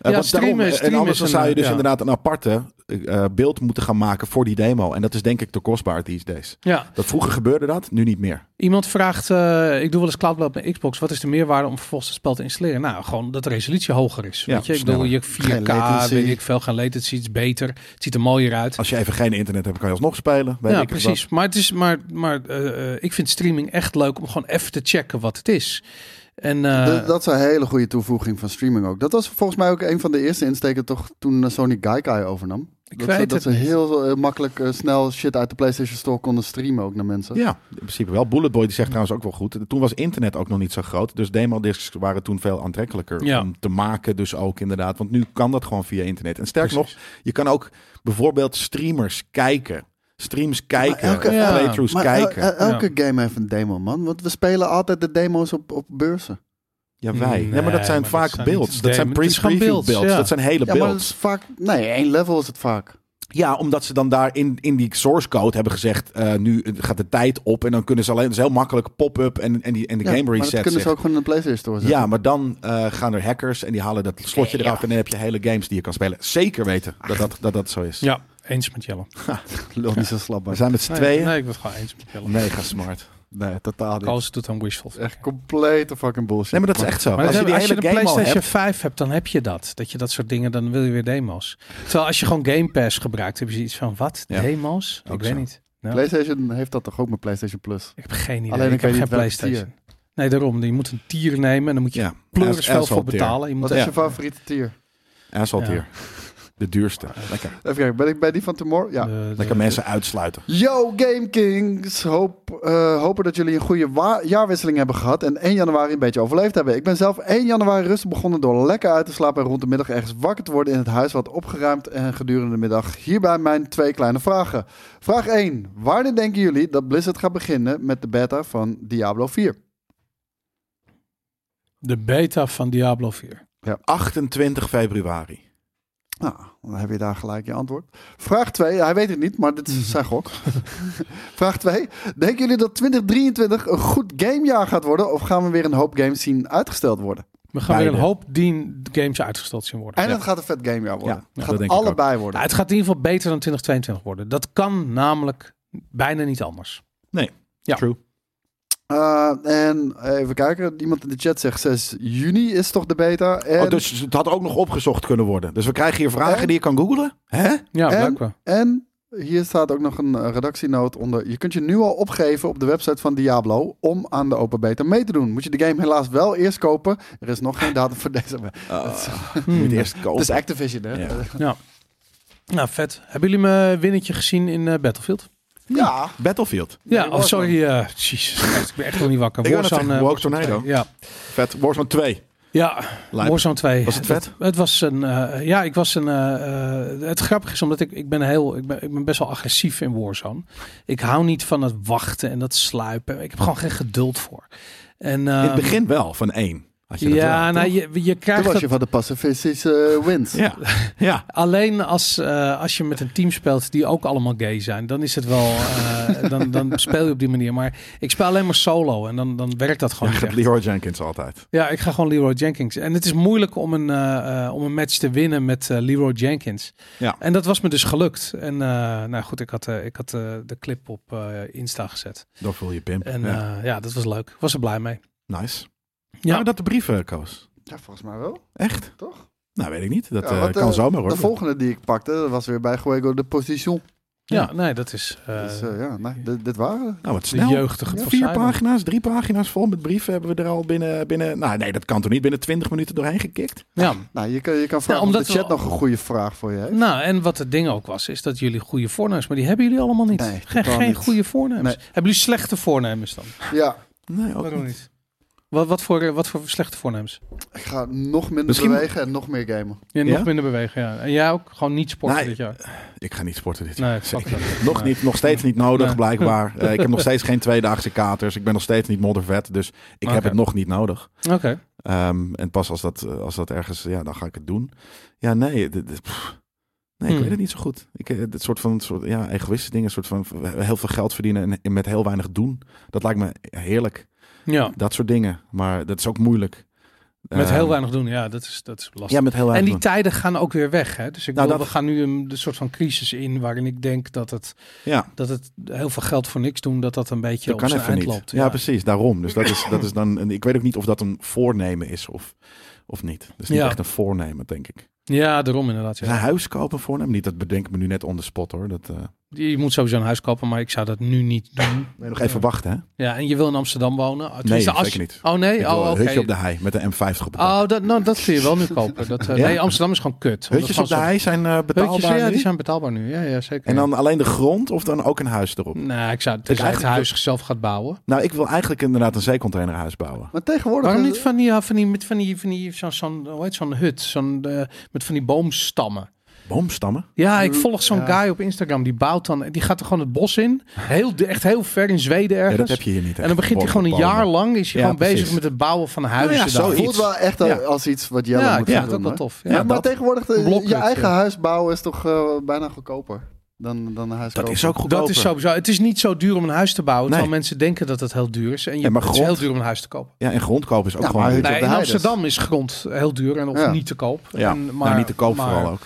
Speaker 2: Ja,
Speaker 3: Eh, want
Speaker 2: streamen
Speaker 3: eh,
Speaker 2: is- streamen
Speaker 3: en anders
Speaker 2: is
Speaker 3: dan
Speaker 2: een,
Speaker 3: zou je dus
Speaker 2: ja.
Speaker 3: inderdaad een aparte eh, eh, beeld moeten gaan maken voor die demo. En dat is denk ik te kostbaar these days.
Speaker 2: ja.
Speaker 3: Dat vroeger gebeurde dat, nu niet meer.
Speaker 2: Iemand vraagt, eh, ik doe wel eens cloudplay op mijn Xbox. Wat is de meerwaarde om vervolgens het spel te installeren? Nou, gewoon dat de resolutie hoger is.
Speaker 3: Ja,
Speaker 2: weet je, ik
Speaker 3: sneller.
Speaker 2: bedoel, je
Speaker 1: Geen
Speaker 2: 4K,
Speaker 1: latency.
Speaker 2: weet ik veel, geen latency, iets beter. Het ziet er mooier uit.
Speaker 3: Als je even geen internet hebt, kan je alsnog spelen. Ah, Weet
Speaker 2: ja,
Speaker 3: ik het wat.
Speaker 2: precies. Maar, het is, maar, maar eh, eh, ik vind streaming echt leuk om gewoon even te checken wat het is. En eh,
Speaker 1: Dat- dat is een hele goede toevoeging van streaming ook. Dat was volgens mij ook een van de eerste insteken toch toen eh, Sony Gaikai overnam.
Speaker 2: Ik
Speaker 1: dat
Speaker 2: weet
Speaker 1: ze,
Speaker 2: het
Speaker 1: dat ze
Speaker 2: niet.
Speaker 1: heel eh, makkelijk eh, snel shit uit de PlayStation Store konden streamen ook naar mensen.
Speaker 3: Ja, in principe wel. Bullet Boy die zegt trouwens ook wel goed. Toen was internet ook nog niet zo groot. Dus demo-discs waren toen veel aantrekkelijker
Speaker 2: Ja.
Speaker 3: om te maken. Dus ook inderdaad. Want nu kan dat gewoon via internet. En sterker
Speaker 2: Precies.
Speaker 3: nog, je kan ook bijvoorbeeld streamers kijken. Streams kijken.
Speaker 1: elke-
Speaker 3: of
Speaker 2: Ja.
Speaker 3: playthroughs
Speaker 1: Maar eh, el-
Speaker 3: kijken.
Speaker 1: el- elke game heeft een demo, man. Want we spelen altijd de demo's op, op beurzen.
Speaker 3: ja, wij. Nee, maar
Speaker 2: Nee,
Speaker 3: dat zijn
Speaker 2: maar dat
Speaker 3: vaak
Speaker 2: zijn niet
Speaker 3: beelds.
Speaker 2: demo-
Speaker 3: Dat zijn
Speaker 2: het is gewoon
Speaker 3: pre-preview
Speaker 2: beelds,
Speaker 3: builds.
Speaker 2: ja.
Speaker 3: Dat zijn hele
Speaker 1: Ja, maar dat
Speaker 3: beelds.
Speaker 1: is vaak... Nee, één level is het vaak.
Speaker 3: Ja, omdat ze dan daar in, in die source code hebben gezegd... eh, nu gaat de tijd op en dan kunnen ze alleen... Het is heel makkelijk pop-up en, en, die, en de
Speaker 1: Ja,
Speaker 3: game
Speaker 1: maar
Speaker 3: reset
Speaker 1: dat kunnen
Speaker 3: zich.
Speaker 1: ze ook gewoon in de PlayStation Store zetten.
Speaker 3: Ja, maar dan eh, gaan er hackers en die halen dat slotje eraf en dan heb je hele games die je kan spelen. Zeker weten dat dat, dat, dat zo is.
Speaker 2: ja, eens met Jelle.
Speaker 1: Lul niet zo slap,
Speaker 3: We
Speaker 1: man.
Speaker 3: zijn met z'n
Speaker 2: Nee,
Speaker 3: tweeën. Oh,
Speaker 2: nee, ik was gewoon eens met Jelle.
Speaker 3: Mega smart.
Speaker 1: Nee, totaal niet.
Speaker 2: Koos doet aan wishful.
Speaker 1: Echt complete fucking bullshit.
Speaker 3: Nee, maar dat is echt zo.
Speaker 2: Maar
Speaker 3: als je die
Speaker 2: als je
Speaker 3: hele
Speaker 2: de
Speaker 3: game al
Speaker 2: PlayStation
Speaker 3: hebt,
Speaker 2: 5 hebt, dan heb je dat. Dat je dat soort dingen, dan wil je weer demo's. Terwijl als je gewoon Game Pass gebruikt, heb je iets van wat?
Speaker 3: Ja.
Speaker 2: Demo's?
Speaker 3: Ook
Speaker 2: ik weet
Speaker 3: zo.
Speaker 2: niet. Nou,
Speaker 1: PlayStation heeft dat toch ook met PlayStation Plus?
Speaker 2: ik heb geen idee.
Speaker 1: Alleen
Speaker 2: ik
Speaker 1: ik
Speaker 2: heb
Speaker 1: weet
Speaker 2: geen
Speaker 1: niet welk
Speaker 2: PlayStation. Nee, daarom. Je moet een tier nemen en dan moet je
Speaker 3: Ja,
Speaker 2: pleurisveld
Speaker 3: asshole
Speaker 2: voor
Speaker 3: tier.
Speaker 2: betalen. Je moet
Speaker 1: Wat is
Speaker 3: Ja.
Speaker 1: je favoriete tier?
Speaker 3: Asshole
Speaker 2: Ja.
Speaker 3: tier. De duurste. Lekker,
Speaker 1: Even kijken, ben ik bij die van Tomorrow? Ja.
Speaker 2: de- de-
Speaker 3: lekker mensen uitsluiten.
Speaker 1: Yo Game Kings, hoop, eh, hopen dat jullie een goede wa- jaarwisseling hebben gehad en 1 januari een beetje overleefd hebben. Ik ben zelf 1 januari rustig begonnen door lekker uit te slapen en rond de middag ergens wakker te worden in het huis wat opgeruimd en gedurende de middag. Hierbij mijn twee kleine vragen. Vraag 1. Wanneer denken jullie dat Blizzard gaat beginnen met de beta van Diablo 4?
Speaker 2: De beta van Diablo 4.
Speaker 3: 28 februari.
Speaker 1: Nou, dan heb je daar gelijk je antwoord. Vraag 2. Hij weet het niet, maar dit is zijn gok. Vraag 2. Denken jullie dat 2023 een goed gamejaar gaat worden? Of gaan we weer een hoop games zien uitgesteld worden?
Speaker 2: We gaan weer een
Speaker 3: Beide.
Speaker 2: hoop dien games uitgesteld zien worden.
Speaker 1: En het gaat een vet gamejaar worden.
Speaker 3: Ja,
Speaker 1: het
Speaker 3: dat
Speaker 1: gaat
Speaker 3: denk ik
Speaker 1: allebei worden.
Speaker 2: Nou, het gaat in ieder geval beter dan 2022 worden. Dat kan namelijk bijna niet anders. Ja.
Speaker 3: True.
Speaker 1: Eh, en even kijken. Iemand in de chat zegt 6 juni is toch de beta? En,
Speaker 3: Oh, dus het had ook nog opgezocht kunnen worden. Dus we krijgen hier vragen
Speaker 2: Eh?
Speaker 1: En?
Speaker 3: die je kan googlen. Hè?
Speaker 2: Ja,
Speaker 1: En-
Speaker 2: blijkbaar.
Speaker 1: en hier staat ook nog een eh, redactienoot onder. Je kunt je nu al opgeven op de website van Diablo om aan de open beta mee te doen. Moet je de game helaas wel eerst kopen. Er is nog geen datum voor deze.
Speaker 3: Je moet eerst kopen.
Speaker 1: Het is Activision, hè? Eh, Ja.
Speaker 3: Ah, oh. Ja.
Speaker 2: Ja. Nou, vet. Hebben jullie mijn winnetje gezien in eh, Battlefield?
Speaker 3: Battlefield.
Speaker 2: Ja,
Speaker 1: Nee,
Speaker 2: oh, sorry. eh jezus, Christus, ik ben echt nog niet wakker.
Speaker 3: Ik wou net zeggen,
Speaker 2: eh,
Speaker 3: Woke Tornado.
Speaker 2: 2. Ja,
Speaker 3: Vet. Warzone 2.
Speaker 2: ja
Speaker 3: Lijp.
Speaker 2: Warzone 2.
Speaker 3: Was het vet?
Speaker 2: Het was een, eh, ja, ik was een, eh, eh, het grappige is omdat ik, ik ben heel, ik ben, ik ben best wel agressief in Warzone. Ik hou niet van het wachten en dat sluipen. Ik heb gewoon geen geduld voor. En,
Speaker 3: In het
Speaker 2: ehm,
Speaker 3: begin wel, van 1. Had je dat
Speaker 2: Ja,
Speaker 3: wel,
Speaker 2: nou,
Speaker 3: toch?
Speaker 2: je, je
Speaker 1: Toen
Speaker 2: krijgt
Speaker 1: was
Speaker 2: dat
Speaker 1: je van de pacifistische eh, wins.
Speaker 3: Ja.
Speaker 2: Oh,
Speaker 3: ja.
Speaker 2: Alleen als, eh, als je met een team speelt die ook allemaal gay zijn, dan is het wel. eh, dan, dan speel je op die manier. Maar ik speel alleen maar solo en dan, dan werkt dat gewoon.
Speaker 3: Ja,
Speaker 2: niet echt.
Speaker 3: Leroy Jenkins altijd.
Speaker 2: Ja, ik ga gewoon Leroy Jenkins. En het is moeilijk om een, eh, eh, om een match te winnen met eh, Leroy Jenkins.
Speaker 3: Ja.
Speaker 2: En dat was me dus gelukt. En eh, nou goed, ik had, eh, ik had eh, de clip op eh, Insta gezet.
Speaker 3: Dan voel je pimp.
Speaker 2: En eh,
Speaker 3: Ja.
Speaker 2: ja. ja, dat was leuk. Ik was er blij mee.
Speaker 3: Nice. Ja.
Speaker 2: Ja,
Speaker 3: dat de brieven, eh, Koos?
Speaker 1: Ja, volgens mij wel.
Speaker 3: Echt?
Speaker 1: Toch?
Speaker 3: Nou, weet ik niet. Dat
Speaker 1: Ja,
Speaker 3: eh,
Speaker 1: want,
Speaker 3: kan
Speaker 1: eh,
Speaker 3: zomaar hoor.
Speaker 1: De volgende die ik pakte, dat was weer bij Goego de Position.
Speaker 2: ja, nee, dat is. eh,
Speaker 1: dus eh, ja, nee, dit, dit waren.
Speaker 3: nou, wat
Speaker 2: de
Speaker 3: snel.
Speaker 2: jeugdige
Speaker 3: Ja,
Speaker 2: ja,
Speaker 3: vier pagina's, drie pagina's vol met brieven hebben we er al binnen, binnen... Nou, nee, dat kan toch niet binnen 20 minuten doorheen gekikt?
Speaker 2: Ja,
Speaker 1: Nou, je kan, je kan vragen
Speaker 2: omdat
Speaker 1: omdat de chat
Speaker 2: we-
Speaker 1: nog een goede vraag voor je heeft.
Speaker 2: Nou, en wat het ding ook was, is dat jullie goede voornemens, maar die hebben jullie allemaal niet.
Speaker 1: Nee,
Speaker 2: geen
Speaker 1: totaal
Speaker 2: geen
Speaker 1: niet.
Speaker 2: goede voornemens.
Speaker 1: Nee.
Speaker 2: Hebben jullie slechte voornemens dan?
Speaker 1: Ja,
Speaker 3: Nee, ook niet.
Speaker 2: Wat, wat, voor, wat voor slechte voornemens?
Speaker 1: ik ga nog minder
Speaker 3: Misschien-
Speaker 1: bewegen en nog meer gamen.
Speaker 2: Ja, nog
Speaker 3: Ja?
Speaker 2: minder bewegen, ja. En jij ook? Gewoon niet sporten
Speaker 3: Nee.
Speaker 2: dit jaar?
Speaker 3: Ik ga niet sporten dit jaar.
Speaker 2: Nee, fuck
Speaker 3: Zeker.
Speaker 2: dat.
Speaker 3: Nog,
Speaker 2: Nee.
Speaker 3: niet, nog steeds niet nodig,
Speaker 2: Nee.
Speaker 3: blijkbaar. Eh, ik heb nog steeds geen tweedaagse katers. Ik ben nog steeds niet moddervet. Dus ik heb
Speaker 2: Oké.
Speaker 3: het nog niet nodig.
Speaker 2: Oké.
Speaker 3: Ehm, en pas als dat, eh, als dat ergens... Ja, dan ga ik het doen. Ja, nee. dit- dit- pff. nee, ik
Speaker 2: Hmm.
Speaker 3: weet het niet zo goed. Ik, eh, dit soort van soort, ja, egoïstische dingen. Soort van eh, heel veel geld verdienen en met heel weinig doen. Dat lijkt me heerlijk.
Speaker 2: Ja,
Speaker 3: Dat soort dingen. Maar dat is ook moeilijk.
Speaker 2: Oh. met
Speaker 3: Ehm,
Speaker 2: heel weinig doen. Ja, dat is, dat is lastig.
Speaker 3: Ja, met heel weinig
Speaker 2: en die
Speaker 3: doen.
Speaker 2: tijden gaan ook weer weg, hè? Dus ik
Speaker 3: Nou,
Speaker 2: bedoel,
Speaker 3: dat-
Speaker 2: we gaan nu een, een soort van crisis in waarin ik denk dat het,
Speaker 3: Ja.
Speaker 2: dat het heel veel geld voor niks doen, dat dat een beetje
Speaker 3: Dat
Speaker 2: op
Speaker 3: kan
Speaker 2: zijn
Speaker 3: even
Speaker 2: eind
Speaker 3: niet.
Speaker 2: loopt.
Speaker 3: Ja, precies, daarom. Dus dat is, dat is dan. en Ik weet ook niet of dat een voornemen is of, of niet. Dat is niet
Speaker 2: Ja.
Speaker 3: echt een voornemen, denk ik.
Speaker 2: Ja, daarom inderdaad.
Speaker 3: Is
Speaker 2: Ja.
Speaker 3: een huis kopen een voornemen? Niet, dat bedenk ik me nu net on the spot hoor. Dat, eh,
Speaker 2: Je moet sowieso een huis kopen, maar ik zou dat nu niet doen.
Speaker 3: nog even wachten, hè?
Speaker 2: Ja, en je wil in Amsterdam wonen? Ah,
Speaker 3: Nee,
Speaker 2: tenminste, als
Speaker 3: zeker
Speaker 2: je-
Speaker 3: niet.
Speaker 2: Oh nee,
Speaker 3: Ik wil
Speaker 2: oh,
Speaker 3: een
Speaker 2: oké.
Speaker 3: Hutje op de hei met de M50 op de
Speaker 2: Oh, dat, nou, dat kun je wel nu kopen. Dat, eh,
Speaker 3: Ja?
Speaker 2: Nee, Amsterdam is gewoon kut. Omdat
Speaker 3: Hutjes
Speaker 2: gewoon
Speaker 3: op de
Speaker 2: zo-
Speaker 3: hei zijn eh, betaalbaar
Speaker 2: Hutjes, ja,
Speaker 3: nu?
Speaker 2: die zijn betaalbaar nu. Ja, ja zeker.
Speaker 3: En dan alleen de grond of dan ook een huis erop?
Speaker 2: Nee, ik zou tenzij het
Speaker 3: eigenlijk-
Speaker 2: huis zelf gaat bouwen.
Speaker 3: Nou, ik wil eigenlijk inderdaad een zeecontainerhuis bouwen.
Speaker 1: Maar tegenwoordig...
Speaker 2: Waarom niet van die, ja, van die, met van die, van die zo'n, zo'n, hoe heet zo'n hut? Zo'n, eh, met van die boomstammen.
Speaker 3: Boomstammen?
Speaker 2: Ja, ik volg zo'n
Speaker 1: Ja.
Speaker 2: guy op Instagram. Die bouwt dan, die gaat er gewoon het bos in. Heel, echt heel ver in Zweden
Speaker 3: Ja,
Speaker 2: ergens.
Speaker 3: dat heb je hier niet.
Speaker 2: en dan begint hij gewoon een jaar lang, is hij
Speaker 3: Ja,
Speaker 2: gewoon bezig
Speaker 3: precies. Nou
Speaker 2: met het bouwen van huizen.
Speaker 3: ja,
Speaker 2: daar.
Speaker 1: Het
Speaker 3: zoiets.
Speaker 1: voelt wel echt eh,
Speaker 3: Ja.
Speaker 1: als iets wat Jelle
Speaker 2: Ja, ik
Speaker 1: moet
Speaker 2: vind
Speaker 1: gaan
Speaker 2: het
Speaker 1: doen,
Speaker 2: ook wel
Speaker 1: hè?
Speaker 2: tof.
Speaker 1: Ja,
Speaker 2: Ja,
Speaker 1: maar
Speaker 3: dat-
Speaker 1: tegenwoordig, eh,
Speaker 2: Een blokhut,
Speaker 1: je eigen
Speaker 2: ja.
Speaker 1: huis bouwen is toch eh, bijna goedkoper dan, dan een huis
Speaker 3: Dat
Speaker 1: kopen?
Speaker 3: is ook goedkoper.
Speaker 2: Dat is sowieso. Het is niet zo duur om een huis te bouwen. Terwijl
Speaker 3: Nee.
Speaker 2: mensen denken dat het heel duur is. En je,
Speaker 3: Ja, maar
Speaker 2: het is heel
Speaker 3: grond-
Speaker 2: duur om een huis te kopen.
Speaker 3: Ja, en grond kopen is ook
Speaker 1: Ja,
Speaker 3: gewoon...
Speaker 1: maar-
Speaker 3: duur.
Speaker 1: op
Speaker 2: Nee,
Speaker 1: de
Speaker 2: in
Speaker 1: hei dus.
Speaker 2: Amsterdam is grond heel duur en of
Speaker 1: Ja.
Speaker 2: niet te koop.
Speaker 3: Ja,
Speaker 2: en,
Speaker 3: maar, niet te koop
Speaker 2: maar
Speaker 3: vooral ook.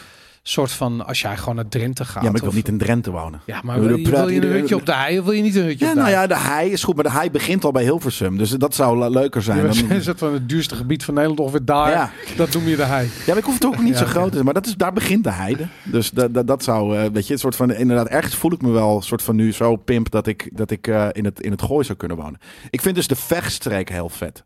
Speaker 2: soort van, als jij gewoon naar Drenthe gaat.
Speaker 3: Ja, maar ik wil
Speaker 2: of-
Speaker 3: niet in Drenthe wonen.
Speaker 2: Ja, maar
Speaker 3: Ik
Speaker 2: wil,
Speaker 3: bedoel,
Speaker 2: je- wil je een
Speaker 3: praat-
Speaker 2: hutje op de hei of wil je niet een hutje
Speaker 3: Ja,
Speaker 2: op de
Speaker 3: nou
Speaker 2: hei?
Speaker 3: ja, de hei is goed, maar de hei begint al bij Hilversum. Dus dat zou le- leuker zijn.
Speaker 2: Ja,
Speaker 3: Dan,
Speaker 2: maar is het van het duurste gebied van Nederland ongeveer daar?
Speaker 3: Ja.
Speaker 2: Dat noem je de hei.
Speaker 3: ja, maar ik hoef het ook niet
Speaker 2: Ja,
Speaker 3: zo
Speaker 2: ja.
Speaker 3: groot te zijn. Maar dat is, daar begint de heide. Dus dat, dat, dat zou, eh, weet je, een soort van, inderdaad, ergens voel ik me wel een soort van nu zo pimp dat ik, dat ik eh, in, het, in het gooi zou kunnen wonen. Ik vind dus de vechtstreek heel vet.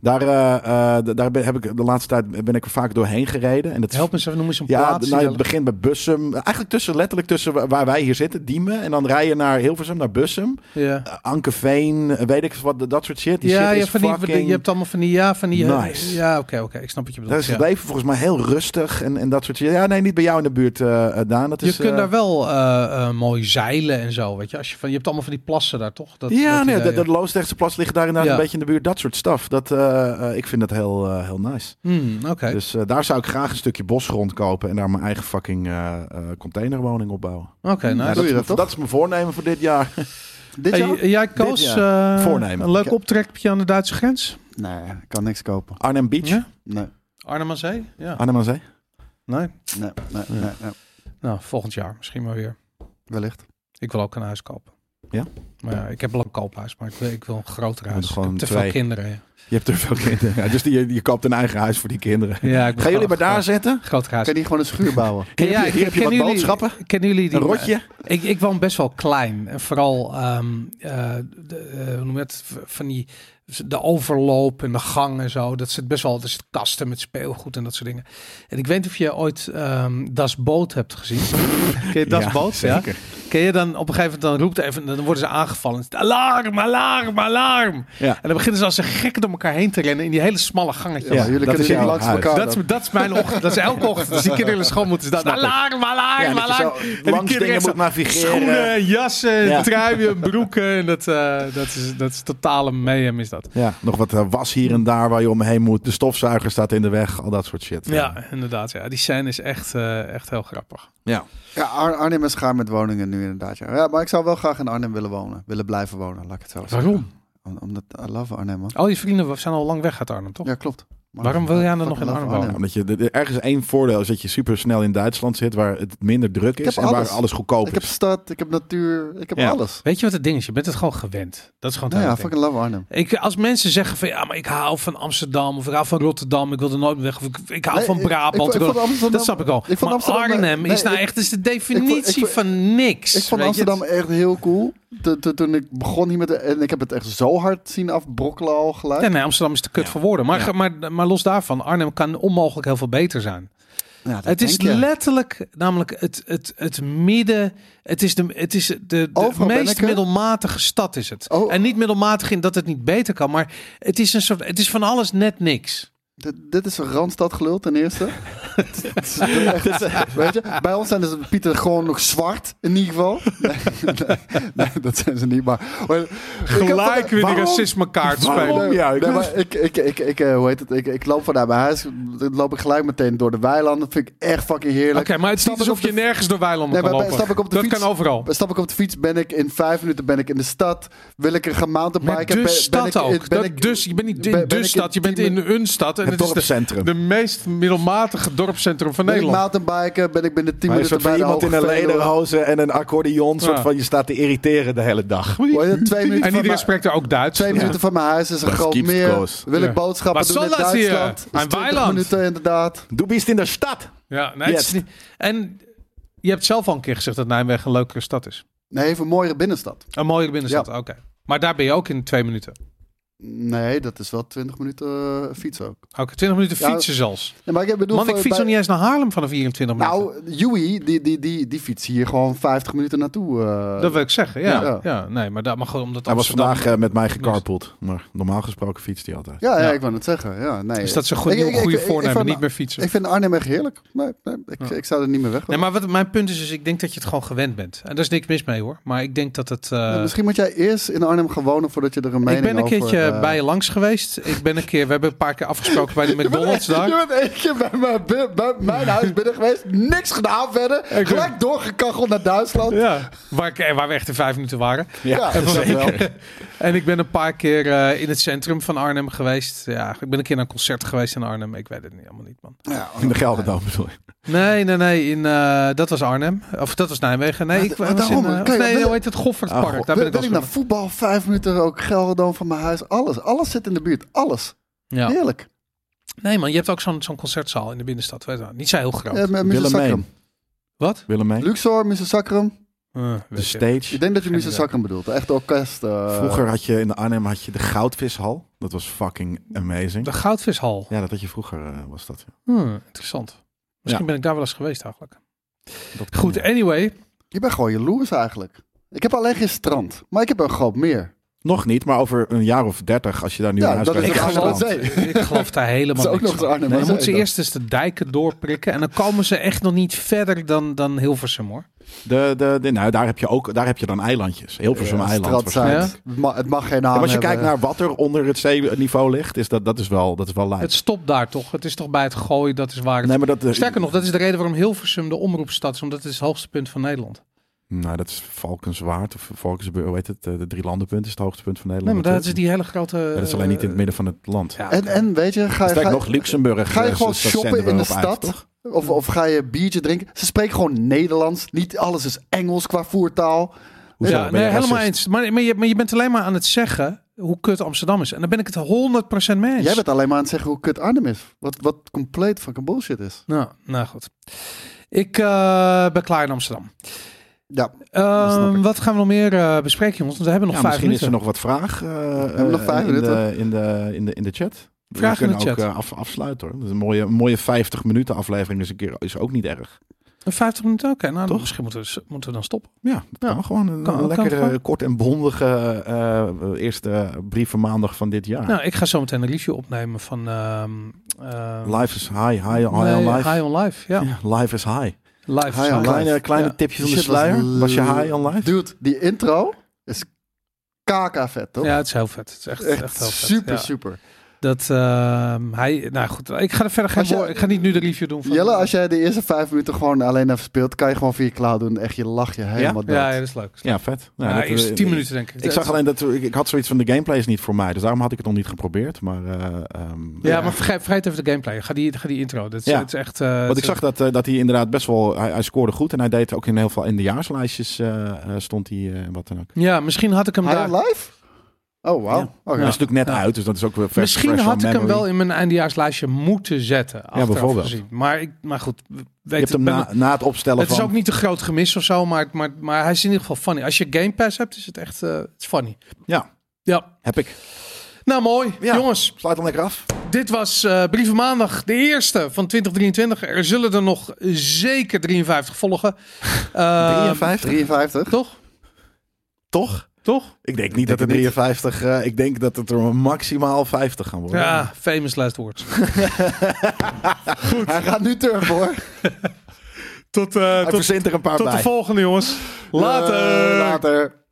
Speaker 3: Daar, eh, eh, d- daar ben, heb ik de laatste tijd ben ik er vaak doorheen gereden. En dat is
Speaker 2: Help eens even, noem eens een
Speaker 3: Ja,
Speaker 2: plaats.
Speaker 3: nou,
Speaker 2: die
Speaker 3: het begint bij Bussum. Eigenlijk tussen, letterlijk tussen wa- waar wij hier zitten, Diemen. En dan rij je naar Hilversum, naar Bussum.
Speaker 2: dan- ja.
Speaker 3: Eh, Ankeveen, eh, weet ik wat, dat soort shit. Die
Speaker 2: ja,
Speaker 3: shit
Speaker 2: ja,
Speaker 3: is
Speaker 2: van die,
Speaker 3: fucking...
Speaker 2: je hebt allemaal van die, ja, van die...
Speaker 3: Nice.
Speaker 2: Ja, oké, oké, ik snap wat je
Speaker 3: Daar
Speaker 2: bedoelt.
Speaker 3: is
Speaker 2: ja.
Speaker 3: het leven volgens mij heel rustig en, en dat soort shit. Ja, nee, niet bij jou in de buurt, eh, eh, Daan. Dat
Speaker 2: Je
Speaker 3: is,
Speaker 2: kunt
Speaker 3: eh,
Speaker 2: daar wel eh, eh, mooi zeilen en zo, weet je. Als je, van, je hebt allemaal van die plassen daar, toch? Dat,
Speaker 3: ja,
Speaker 2: dat
Speaker 3: nee,
Speaker 2: idee,
Speaker 3: de, de Loosdrechtse plas ligt daar inderdaad
Speaker 2: Ja.
Speaker 3: een beetje in de buurt. Dat soort stuff. Dat, eh, eh, ik vind dat heel, eh, heel nice.
Speaker 2: Hmm, oké.
Speaker 3: Dus eh, daar zou ik graag een stukje bosgrond kopen en daar mijn eigen fucking eh, eh, containerwoning op bouwen.
Speaker 2: Oké, nou,
Speaker 1: doe
Speaker 3: Ja, dat,
Speaker 1: je
Speaker 3: is
Speaker 1: dat
Speaker 3: mijn-
Speaker 1: toch?
Speaker 3: dat is mijn voornemen voor dit jaar.
Speaker 1: Dit
Speaker 2: Hey,
Speaker 1: jaar?
Speaker 2: jij koos
Speaker 3: Dit
Speaker 2: eh,
Speaker 3: Voornemen.
Speaker 2: een leuk
Speaker 1: Ik-
Speaker 2: optrekje aan de Duitse grens.
Speaker 1: Nee, ik kan niks kopen.
Speaker 3: Arnhem Beach.
Speaker 2: Ja?
Speaker 1: Nee,
Speaker 2: Arnhem aan Zee? Ja.
Speaker 3: Arnhem aan Zee.
Speaker 2: Nee?
Speaker 1: nee, nee, nee, nee.
Speaker 2: Nou, volgend jaar misschien maar weer.
Speaker 1: Wellicht.
Speaker 2: Ik wil ook een huis kopen.
Speaker 3: Ja?
Speaker 2: Maar ja, ik heb wel een koophuis, maar ik wil, ik wil een groter
Speaker 3: moet
Speaker 2: huis. Ik
Speaker 3: gewoon
Speaker 2: heb te
Speaker 3: twee.
Speaker 2: veel kinderen. Ja,
Speaker 3: Je hebt er veel kinderen. Ja, dus die, je koopt een eigen huis voor die kinderen.
Speaker 2: ja ik wil
Speaker 3: Gaan jullie maar
Speaker 2: gewoon
Speaker 3: daar
Speaker 2: een
Speaker 3: zetten?
Speaker 2: groot groter huis.
Speaker 1: Kan je gewoon een schuur bouwen?
Speaker 3: Hier heb je- hier heb je wat
Speaker 2: kennen jullie-
Speaker 3: boodschappen?
Speaker 2: Kennen jullie die?
Speaker 3: Een rotje?
Speaker 2: Ik, ik woon best wel klein. En vooral ehm, eh, de, eh, hoe noem je het? V- van die de overloop en de gang en zo. Dat zit best wel. Er zit kasten met speelgoed en dat soort dingen. En ik weet niet of je ooit ehm Das Boot hebt gezien. Ken je Das
Speaker 3: Ja,
Speaker 2: Boot? Ja.
Speaker 3: zeker.
Speaker 2: Ken je dan op een gegeven moment dan roept even, dan worden ze aangevallen. Alarm, alarm, alarm.
Speaker 3: Ja.
Speaker 2: En dan beginnen ze als een gek door elkaar heen te rennen in die hele smalle gangetje.
Speaker 3: Ja,
Speaker 1: Ja, jullie
Speaker 3: dat
Speaker 1: kunnen
Speaker 3: is
Speaker 1: niet
Speaker 3: jouw
Speaker 1: langs
Speaker 3: huis.
Speaker 1: elkaar.
Speaker 2: Dat is, dat is mijn ochtend. Dat is elke ochtend. Dus die kinderen in de school moeten staan. Alarm, alarm,
Speaker 3: Ja, dat je
Speaker 2: alarm.
Speaker 3: zo
Speaker 2: En die
Speaker 3: langs
Speaker 2: kinderen
Speaker 3: dingen
Speaker 2: echt zo,
Speaker 3: moet navigeren.
Speaker 2: Schoenen, jassen,
Speaker 3: Ja.
Speaker 2: truien, broeken. En dat, eh, dat, is, dat is totale mayhem is dat.
Speaker 3: Ja, nog wat eh, was hier en daar waar je omheen moet. De stofzuiger staat in de weg, al dat soort shit.
Speaker 2: Ja, inderdaad. Ja. Die scène is echt, eh, echt heel grappig.
Speaker 3: ja.
Speaker 1: Ja, Ar- Arnhem is gaar met woningen nu inderdaad. Ja. Ja, maar ik zou wel graag in Arnhem willen wonen. Willen blijven wonen, laat ik het zo zeggen. Om- Omdat, I love Arnhem, man.
Speaker 2: Al je vrienden zijn al lang weg uit Arnhem, toch?
Speaker 1: Ja, klopt. Maar-
Speaker 2: Waarom wil jij dan nog in
Speaker 1: Fucking love
Speaker 2: Arnhem wonen?
Speaker 3: Ja, Omdat je, de- de- ergens één voordeel is dat je super snel in Duitsland zit waar het minder druk is
Speaker 1: heb
Speaker 3: en
Speaker 1: alles.
Speaker 3: waar alles goedkoop
Speaker 1: Ik
Speaker 3: is.
Speaker 1: heb stad, ik heb natuur, ik heb
Speaker 3: Ja.
Speaker 1: alles.
Speaker 2: Weet je wat het ding is? Je bent het gewoon gewend. Dat is gewoon het
Speaker 1: Nou ja,
Speaker 2: hele ding.
Speaker 1: fucking love Arnhem.
Speaker 2: Ik, als mensen zeggen van ja, maar ik hou van Amsterdam of ik hou van Rotterdam, ik wil er nooit meer weg, of ik, ik hou
Speaker 1: Nee,
Speaker 2: Ah, van
Speaker 1: ik- ik vond-
Speaker 2: Brabant.
Speaker 1: ik vond Amsterdam-
Speaker 2: dat snap ik al.
Speaker 1: ik vond
Speaker 2: maar
Speaker 1: Amsterdam-
Speaker 2: Arnhem
Speaker 1: nee,
Speaker 2: is nou
Speaker 1: ik-
Speaker 2: echt dus de definitie
Speaker 1: vond-
Speaker 2: van niks.
Speaker 1: Ik vond
Speaker 2: weet je?
Speaker 1: Amsterdam echt heel cool. Toen- toen- Toen ik begon hier met... de- En ik heb het echt zo hard zien afbrokkelen al gelijk.
Speaker 2: Nee, nee, Amsterdam is te kut voor woorden. Maar,
Speaker 3: Ja.
Speaker 2: maar, maar los daarvan, Arnhem kan onmogelijk heel veel beter zijn.
Speaker 1: Ja, dat
Speaker 2: het is
Speaker 1: denk je.
Speaker 2: letterlijk namelijk het, het, het midden. Het is de, het is de, de
Speaker 1: Overal ben ik
Speaker 2: meest
Speaker 1: er.
Speaker 2: middelmatige stad is het.
Speaker 1: Oh.
Speaker 2: En niet middelmatig in dat het niet beter kan. Maar het is een soort. Het is van alles net niks.
Speaker 1: Dit, dit is een Randstad gelul ten eerste. Het is echt- Weet je, bij ons zijn dus Pieter gewoon nog zwart in ieder geval. Nee, nee, nee, dat zijn ze niet, maar... maar ik heb van-
Speaker 2: weer
Speaker 3: die
Speaker 2: de
Speaker 3: Waarom?
Speaker 2: racismekaart
Speaker 3: Waarom? spelen.
Speaker 1: Nee,
Speaker 3: Ja, ik-
Speaker 1: nee, maar ik, ik, ik, ik, eh, hoe heet het? Ik, ik loop vanuit mijn huis, dan loop ik gelijk meteen door de weilanden. Dat vind ik echt fucking heerlijk.
Speaker 2: Oké, maar het is
Speaker 1: Stap
Speaker 2: niet
Speaker 1: ik
Speaker 2: alsof
Speaker 1: op de
Speaker 2: je nergens door weilanden
Speaker 1: Nee,
Speaker 2: kan
Speaker 1: maar
Speaker 2: lopen.
Speaker 1: bij- stap ik op de
Speaker 2: dat
Speaker 1: fiets-
Speaker 2: kan overal.
Speaker 1: Stap ik op de fiets, ben ik in vijf minuten ben ik in de stad. Wil ik een
Speaker 2: Maar
Speaker 1: gemountainbiken?
Speaker 2: de
Speaker 1: ben, ben
Speaker 2: stad
Speaker 1: ik, in-
Speaker 2: ook.
Speaker 1: Ben
Speaker 2: Dat
Speaker 1: ik,
Speaker 2: dus, je bent niet in
Speaker 1: ben- ben
Speaker 2: de
Speaker 1: ik in
Speaker 2: stad, je bent
Speaker 1: tien
Speaker 2: in een stad. En
Speaker 3: Het
Speaker 2: het is de,
Speaker 3: dorpscentrum.
Speaker 2: de meest middelmatige dorpscentrum van
Speaker 1: ben ik
Speaker 2: Nederland.
Speaker 1: mountainbiken? Ben ik binnen tien
Speaker 3: Maar een
Speaker 1: minuten
Speaker 3: soort
Speaker 1: bij
Speaker 3: van
Speaker 1: de
Speaker 3: iemand in
Speaker 1: Hoge
Speaker 3: een
Speaker 1: Veluwe?
Speaker 3: lederhozen en een accordeon. Soort
Speaker 2: Ja.
Speaker 3: van je staat te irriteren de hele dag.
Speaker 1: Hoor je, Twee minuten
Speaker 2: En
Speaker 1: van
Speaker 2: iedereen
Speaker 1: mijn-
Speaker 2: spreekt er ook Duits. Dus-
Speaker 1: Twee minuten van mijn huis is een
Speaker 3: Dat
Speaker 1: groot
Speaker 3: keeps
Speaker 1: meer.
Speaker 3: close.
Speaker 1: Wil
Speaker 2: Ja.
Speaker 1: ik boodschappen
Speaker 2: Wat
Speaker 1: doen in
Speaker 2: zal dat hier?
Speaker 1: Duitsland? Is
Speaker 2: Een
Speaker 1: 20
Speaker 2: weiland.
Speaker 1: minuten inderdaad.
Speaker 3: Doe biest in de stad.
Speaker 2: Ja, nee, het is
Speaker 3: Yes.
Speaker 2: niet- En je hebt zelf al een keer gezegd dat Nijmegen een leukere stad is.
Speaker 1: Nee, even een mooiere binnenstad.
Speaker 2: Een mooiere binnenstad, oké. Maar daar ben je ook in twee minuten.
Speaker 1: Nee, dat is wel 20 minuten eh, fietsen ook.
Speaker 2: Oké, 20 minuten
Speaker 1: Ja,
Speaker 2: fietsen zelfs.
Speaker 1: Nee, maar ik bedoel,
Speaker 2: Man, ik
Speaker 1: voor-
Speaker 2: fiets
Speaker 1: bij-
Speaker 2: nog niet eens naar Haarlem vanaf 24 minuten.
Speaker 1: Nou, Joey, die, die, die, die fietst hier gewoon 50 minuten naartoe. eh.
Speaker 2: dat wil ik zeggen, ja. ja.
Speaker 1: ja.
Speaker 2: nee, maar, dat, maar gewoon omdat
Speaker 3: Hij was
Speaker 2: Amsterdam...
Speaker 3: vandaag eh, met mij gecarpooled. Maar normaal gesproken fietst hij altijd.
Speaker 1: ja, ja,
Speaker 2: ja.
Speaker 1: ik wou het zeggen. Ja, nee.
Speaker 2: Dus dat is een goede,
Speaker 1: Ik- ik- ik-
Speaker 2: goede
Speaker 1: ik- ik
Speaker 2: voornemen,
Speaker 1: vond-
Speaker 2: niet meer fietsen.
Speaker 1: Ik vind Arnhem echt heerlijk. Nee, nee, ik, ik zou er niet meer weg
Speaker 2: Nee,
Speaker 1: willen.
Speaker 2: maar wat mijn punt is, is ik denk dat je het gewoon gewend bent. En daar is niks mis mee hoor. Maar ik denk dat het... eh,
Speaker 1: Misschien moet jij eerst in Arnhem gaan wonen voordat je er een mening
Speaker 2: ik ben een
Speaker 1: over
Speaker 2: keertje
Speaker 1: eh,
Speaker 2: bij je langs geweest. Ik ben een keer, we hebben een paar keer afgesproken bij de McDonald's
Speaker 1: je bent,
Speaker 2: daar.
Speaker 1: je bent één keer bij mijn, bij- bij mijn huis binnen geweest. Niks gedaan verder.
Speaker 2: ben-
Speaker 1: Gelijk doorgekacheld naar Duitsland. Ja,
Speaker 2: Ja. Waar, ik- eh, waar we echt in vijf minuten waren.
Speaker 1: dat is dat wel.
Speaker 2: En ik ben een paar keer eh, in het centrum van Arnhem geweest. Ja, ik ben een keer naar een concert geweest in Arnhem. Ik weet het niet, allemaal niet, man.
Speaker 1: Ja,
Speaker 3: In de Gelderdoom bedoel je.
Speaker 2: Nee, nee, nee. In, eh, dat was Arnhem. Of dat was Nijmegen. Nee,
Speaker 1: Maar
Speaker 2: ik
Speaker 1: da-
Speaker 2: was
Speaker 1: daarom,
Speaker 2: in... eh,
Speaker 1: kijk,
Speaker 2: nee,
Speaker 1: ben-
Speaker 2: hoe heet het? Goffertpark.
Speaker 3: Ah, Go-
Speaker 2: daar ben ik
Speaker 1: ben
Speaker 2: al
Speaker 1: ik naar
Speaker 2: eens
Speaker 1: voetbal, vijf minuten ook, Gelderdoom van mijn huis. Alles, alles zit in de buurt. Alles.
Speaker 2: geweest. Ja.
Speaker 1: Heerlijk.
Speaker 2: Nee, man. Je hebt ook zo'n zo'n concertzaal in de binnenstad. Weet je wel. Niet zo heel groot.
Speaker 1: Eh, met Mr.
Speaker 3: Willemijn.
Speaker 1: Sacrum.
Speaker 2: Wat?
Speaker 3: Willemijn.
Speaker 1: Luxor, Mr. Sacrum.
Speaker 2: Eh, weet
Speaker 3: De
Speaker 2: je.
Speaker 1: Ik
Speaker 3: stage.
Speaker 1: denk dat je Mr.
Speaker 2: idee.
Speaker 1: Sacrum bedoelt. Echt orkest. eh,
Speaker 3: Vroeger had je in de Arnhem had je de Goudvishal. Dat was fucking amazing.
Speaker 2: De Goudvishal.
Speaker 3: Ja, dat had je vroeger, eh, was dat. ja.
Speaker 2: Hmm, interessant. Misschien
Speaker 3: Ja.
Speaker 2: ben ik daar wel eens geweest eigenlijk.
Speaker 3: Dat-
Speaker 2: Goed, anyway.
Speaker 1: Je bent gewoon jaloers eigenlijk. Ik heb alleen geen strand, maar ik heb een groot meer.
Speaker 3: Nog niet, maar over een jaar of dertig, als je daar nu
Speaker 1: Ja,
Speaker 3: naar huis
Speaker 1: dat is
Speaker 3: kijkt,
Speaker 2: Ik
Speaker 1: ook
Speaker 3: is het
Speaker 1: allemaal
Speaker 2: geloof,
Speaker 3: strand.
Speaker 1: zee.
Speaker 2: ik geloof daar
Speaker 1: Dat is
Speaker 2: helemaal
Speaker 1: ook
Speaker 2: niks
Speaker 1: nog eens
Speaker 2: van.
Speaker 1: Arnhem.
Speaker 2: Nee, dan
Speaker 1: hè,
Speaker 2: moeten ze
Speaker 1: dat.
Speaker 2: eerst eens de dijken doorprikken. En dan komen ze echt nog niet verder dan, dan Hilversum hoor.
Speaker 3: De, de, de, nou, daar heb je ook, daar heb je dan eilandjes. Hilversum
Speaker 1: Ja,
Speaker 3: eiland.
Speaker 1: strand zijn.
Speaker 3: waarschijnlijk.
Speaker 2: waarschijnlijk.
Speaker 1: Het ma- Het mag geen naam
Speaker 3: Ja, maar als je
Speaker 1: hebben.
Speaker 3: kijkt naar wat er onder het zeeniveau ligt, is dat, dat is wel, dat is wel
Speaker 2: Het
Speaker 3: lijp.
Speaker 2: stopt daar toch? Het is toch bij het gooien, dat is waar. het-
Speaker 3: Nee, maar dat, eh,
Speaker 2: Sterker nog, dat is de reden waarom Hilversum de omroepstad is. Omdat het is het hoogste punt van Nederland.
Speaker 3: Nou, dat is Valkenswaard of Valkensburg, hoe heet het? eh, De drie landenpunt is het hoogste punt van
Speaker 2: Nee,
Speaker 3: Nederland.
Speaker 2: maar dat is
Speaker 3: natuurlijk.
Speaker 2: die hele grote...
Speaker 3: Ja, dat is alleen niet in het midden van het land.
Speaker 2: Ja,
Speaker 1: En,
Speaker 2: oké.
Speaker 1: en weet je, ga je,
Speaker 3: Sterker
Speaker 1: ga,
Speaker 3: nog, Luxemburg.
Speaker 1: ga je
Speaker 3: eh,
Speaker 1: gewoon
Speaker 3: dat zenden
Speaker 1: shoppen
Speaker 3: we
Speaker 1: in de
Speaker 3: op uit,
Speaker 1: stad?
Speaker 3: toch?
Speaker 1: of, of ga je biertje drinken? Ze spreken gewoon Nederlands. Niet alles is Engels qua voertaal.
Speaker 3: Hoezo?
Speaker 2: ja,
Speaker 3: Ben
Speaker 2: nee,
Speaker 3: je
Speaker 2: helemaal
Speaker 3: racist?
Speaker 2: eens. Maar, maar, je, maar je bent alleen maar aan het zeggen hoe kut Amsterdam is. En daar ben ik het 100% mee eens.
Speaker 1: Jij bent alleen maar aan het zeggen hoe kut Arnhem is. Wat, wat compleet fucking bullshit is.
Speaker 2: Nou, nou goed. Ik eh, ben klaar in Amsterdam.
Speaker 1: Ja,
Speaker 2: Ehm,
Speaker 1: snap ik.
Speaker 2: wat gaan we nog meer eh, bespreken, jongens? Want we hebben
Speaker 3: Ja,
Speaker 2: nog vijf
Speaker 3: misschien is
Speaker 2: minuten.
Speaker 3: er nog wat vraag eh,
Speaker 1: hebben nog
Speaker 3: eh,
Speaker 1: vijf
Speaker 3: in, de,
Speaker 1: minuten.
Speaker 3: in, de, in, de, in de chat.
Speaker 2: Vraag
Speaker 3: we
Speaker 2: in de
Speaker 3: kunnen ook
Speaker 2: chat.
Speaker 3: eh, af, afsluiten hoor. Dat is een mooie, een mooie 50 minuten aflevering dus een keer is ook niet erg.
Speaker 2: Een 50 minuten? Oké, nou,
Speaker 3: Toch?
Speaker 2: misschien moeten we, s- moeten we dan stoppen.
Speaker 3: Ja, dat kan gewoon een,
Speaker 2: Kan-
Speaker 3: een
Speaker 2: kan
Speaker 3: lekkere
Speaker 2: gewoon.
Speaker 3: kort en bondige eh, eerste brievenmaandag van dit jaar.
Speaker 2: Nou, ik ga zo meteen een review opnemen van... ehm, ehm,
Speaker 3: Life is high, high, high
Speaker 2: nee,
Speaker 3: on life.
Speaker 2: High on Life, ja.
Speaker 3: Ja, life is high.
Speaker 2: Live.
Speaker 1: High on Life.
Speaker 3: Kleine, kleine
Speaker 2: Ja.
Speaker 3: tipje van de
Speaker 1: Shit, was
Speaker 3: sluier. Was je high on life?
Speaker 1: dude, die intro is kaka vet, toch?
Speaker 2: Ja, het is heel vet. Het is echt, echt,
Speaker 1: Echt
Speaker 2: heel vet.
Speaker 1: super,
Speaker 2: ja.
Speaker 1: super.
Speaker 2: Dat ehm, hij... Nou goed, ik ga er verder geen
Speaker 1: Als je-
Speaker 2: woord... Ik ga niet nu de review doen van...
Speaker 1: Jelle, als jij de eerste vijf minuten gewoon alleen even speelt, kan je gewoon via je cloud doen. Echt, je lacht je helemaal dood.
Speaker 2: Ja, ja, dat is leuk.
Speaker 3: Ja, vet. Nou,
Speaker 2: Ja,
Speaker 3: dat-
Speaker 2: eerst 10 minuten denk ik.
Speaker 3: Ik zag alleen dat ik, ik had zoiets van de gameplay is niet voor mij, dus daarom had ik het nog niet geprobeerd. Maar, eh, ehm,
Speaker 2: Ja, maar vergeet, vergeet even de gameplay. Ga die, ga die intro. Dat is,
Speaker 3: Ja.
Speaker 2: het is echt... eh, het
Speaker 3: Want ik
Speaker 2: is-
Speaker 3: zag dat, eh, dat hij inderdaad best wel, hij, hij scoorde goed en hij deed ook in heel veel eindejaarslijstjes eh, eh, stond hij eh, en wat dan ook.
Speaker 2: Ja, misschien had ik hem
Speaker 1: High
Speaker 2: daar...
Speaker 1: on life? Oh, wauw.
Speaker 2: Ja.
Speaker 1: Oké.
Speaker 3: Dat is natuurlijk net
Speaker 2: Ja.
Speaker 3: uit, dus dat is ook weer vers-
Speaker 2: Misschien
Speaker 3: fresh on
Speaker 2: had ik hem
Speaker 3: memory.
Speaker 2: wel in mijn eindejaarslijstje moeten zetten. Ja,
Speaker 3: bijvoorbeeld.
Speaker 2: Gezien. Maar, ik, maar goed, we-
Speaker 3: Je
Speaker 2: weet
Speaker 3: hebt
Speaker 2: ik
Speaker 3: hem
Speaker 2: ben-
Speaker 3: na, na het opstellen
Speaker 2: het
Speaker 3: van.
Speaker 2: is ook niet te groot gemis of zo, maar, maar, maar hij is in ieder geval funny. Als je Game Pass hebt, is het echt eh, het is funny.
Speaker 3: Ja,
Speaker 2: Ja.
Speaker 3: heb ik.
Speaker 2: Nou, mooi.
Speaker 3: Ja.
Speaker 2: Jongens,
Speaker 3: Sluit dan lekker af.
Speaker 2: dit was eh Brieven Maandag, de eerste van 2023. Er zullen er nog zeker 53 volgen. Eh,
Speaker 3: 53,
Speaker 1: 53.
Speaker 2: Toch?
Speaker 3: toch?
Speaker 2: Toch?
Speaker 3: Ik denk niet dat er 53, eh, ik denk dat het er maximaal 50 gaan worden.
Speaker 2: Ja, famous last words.
Speaker 1: Hij gaat nu turf hoor.
Speaker 2: Tot, eh,
Speaker 3: Hij
Speaker 2: tot, eh,
Speaker 3: verzint er een paar
Speaker 2: tot
Speaker 3: bij.
Speaker 2: de volgende, jongens. Later.
Speaker 1: Eh, later.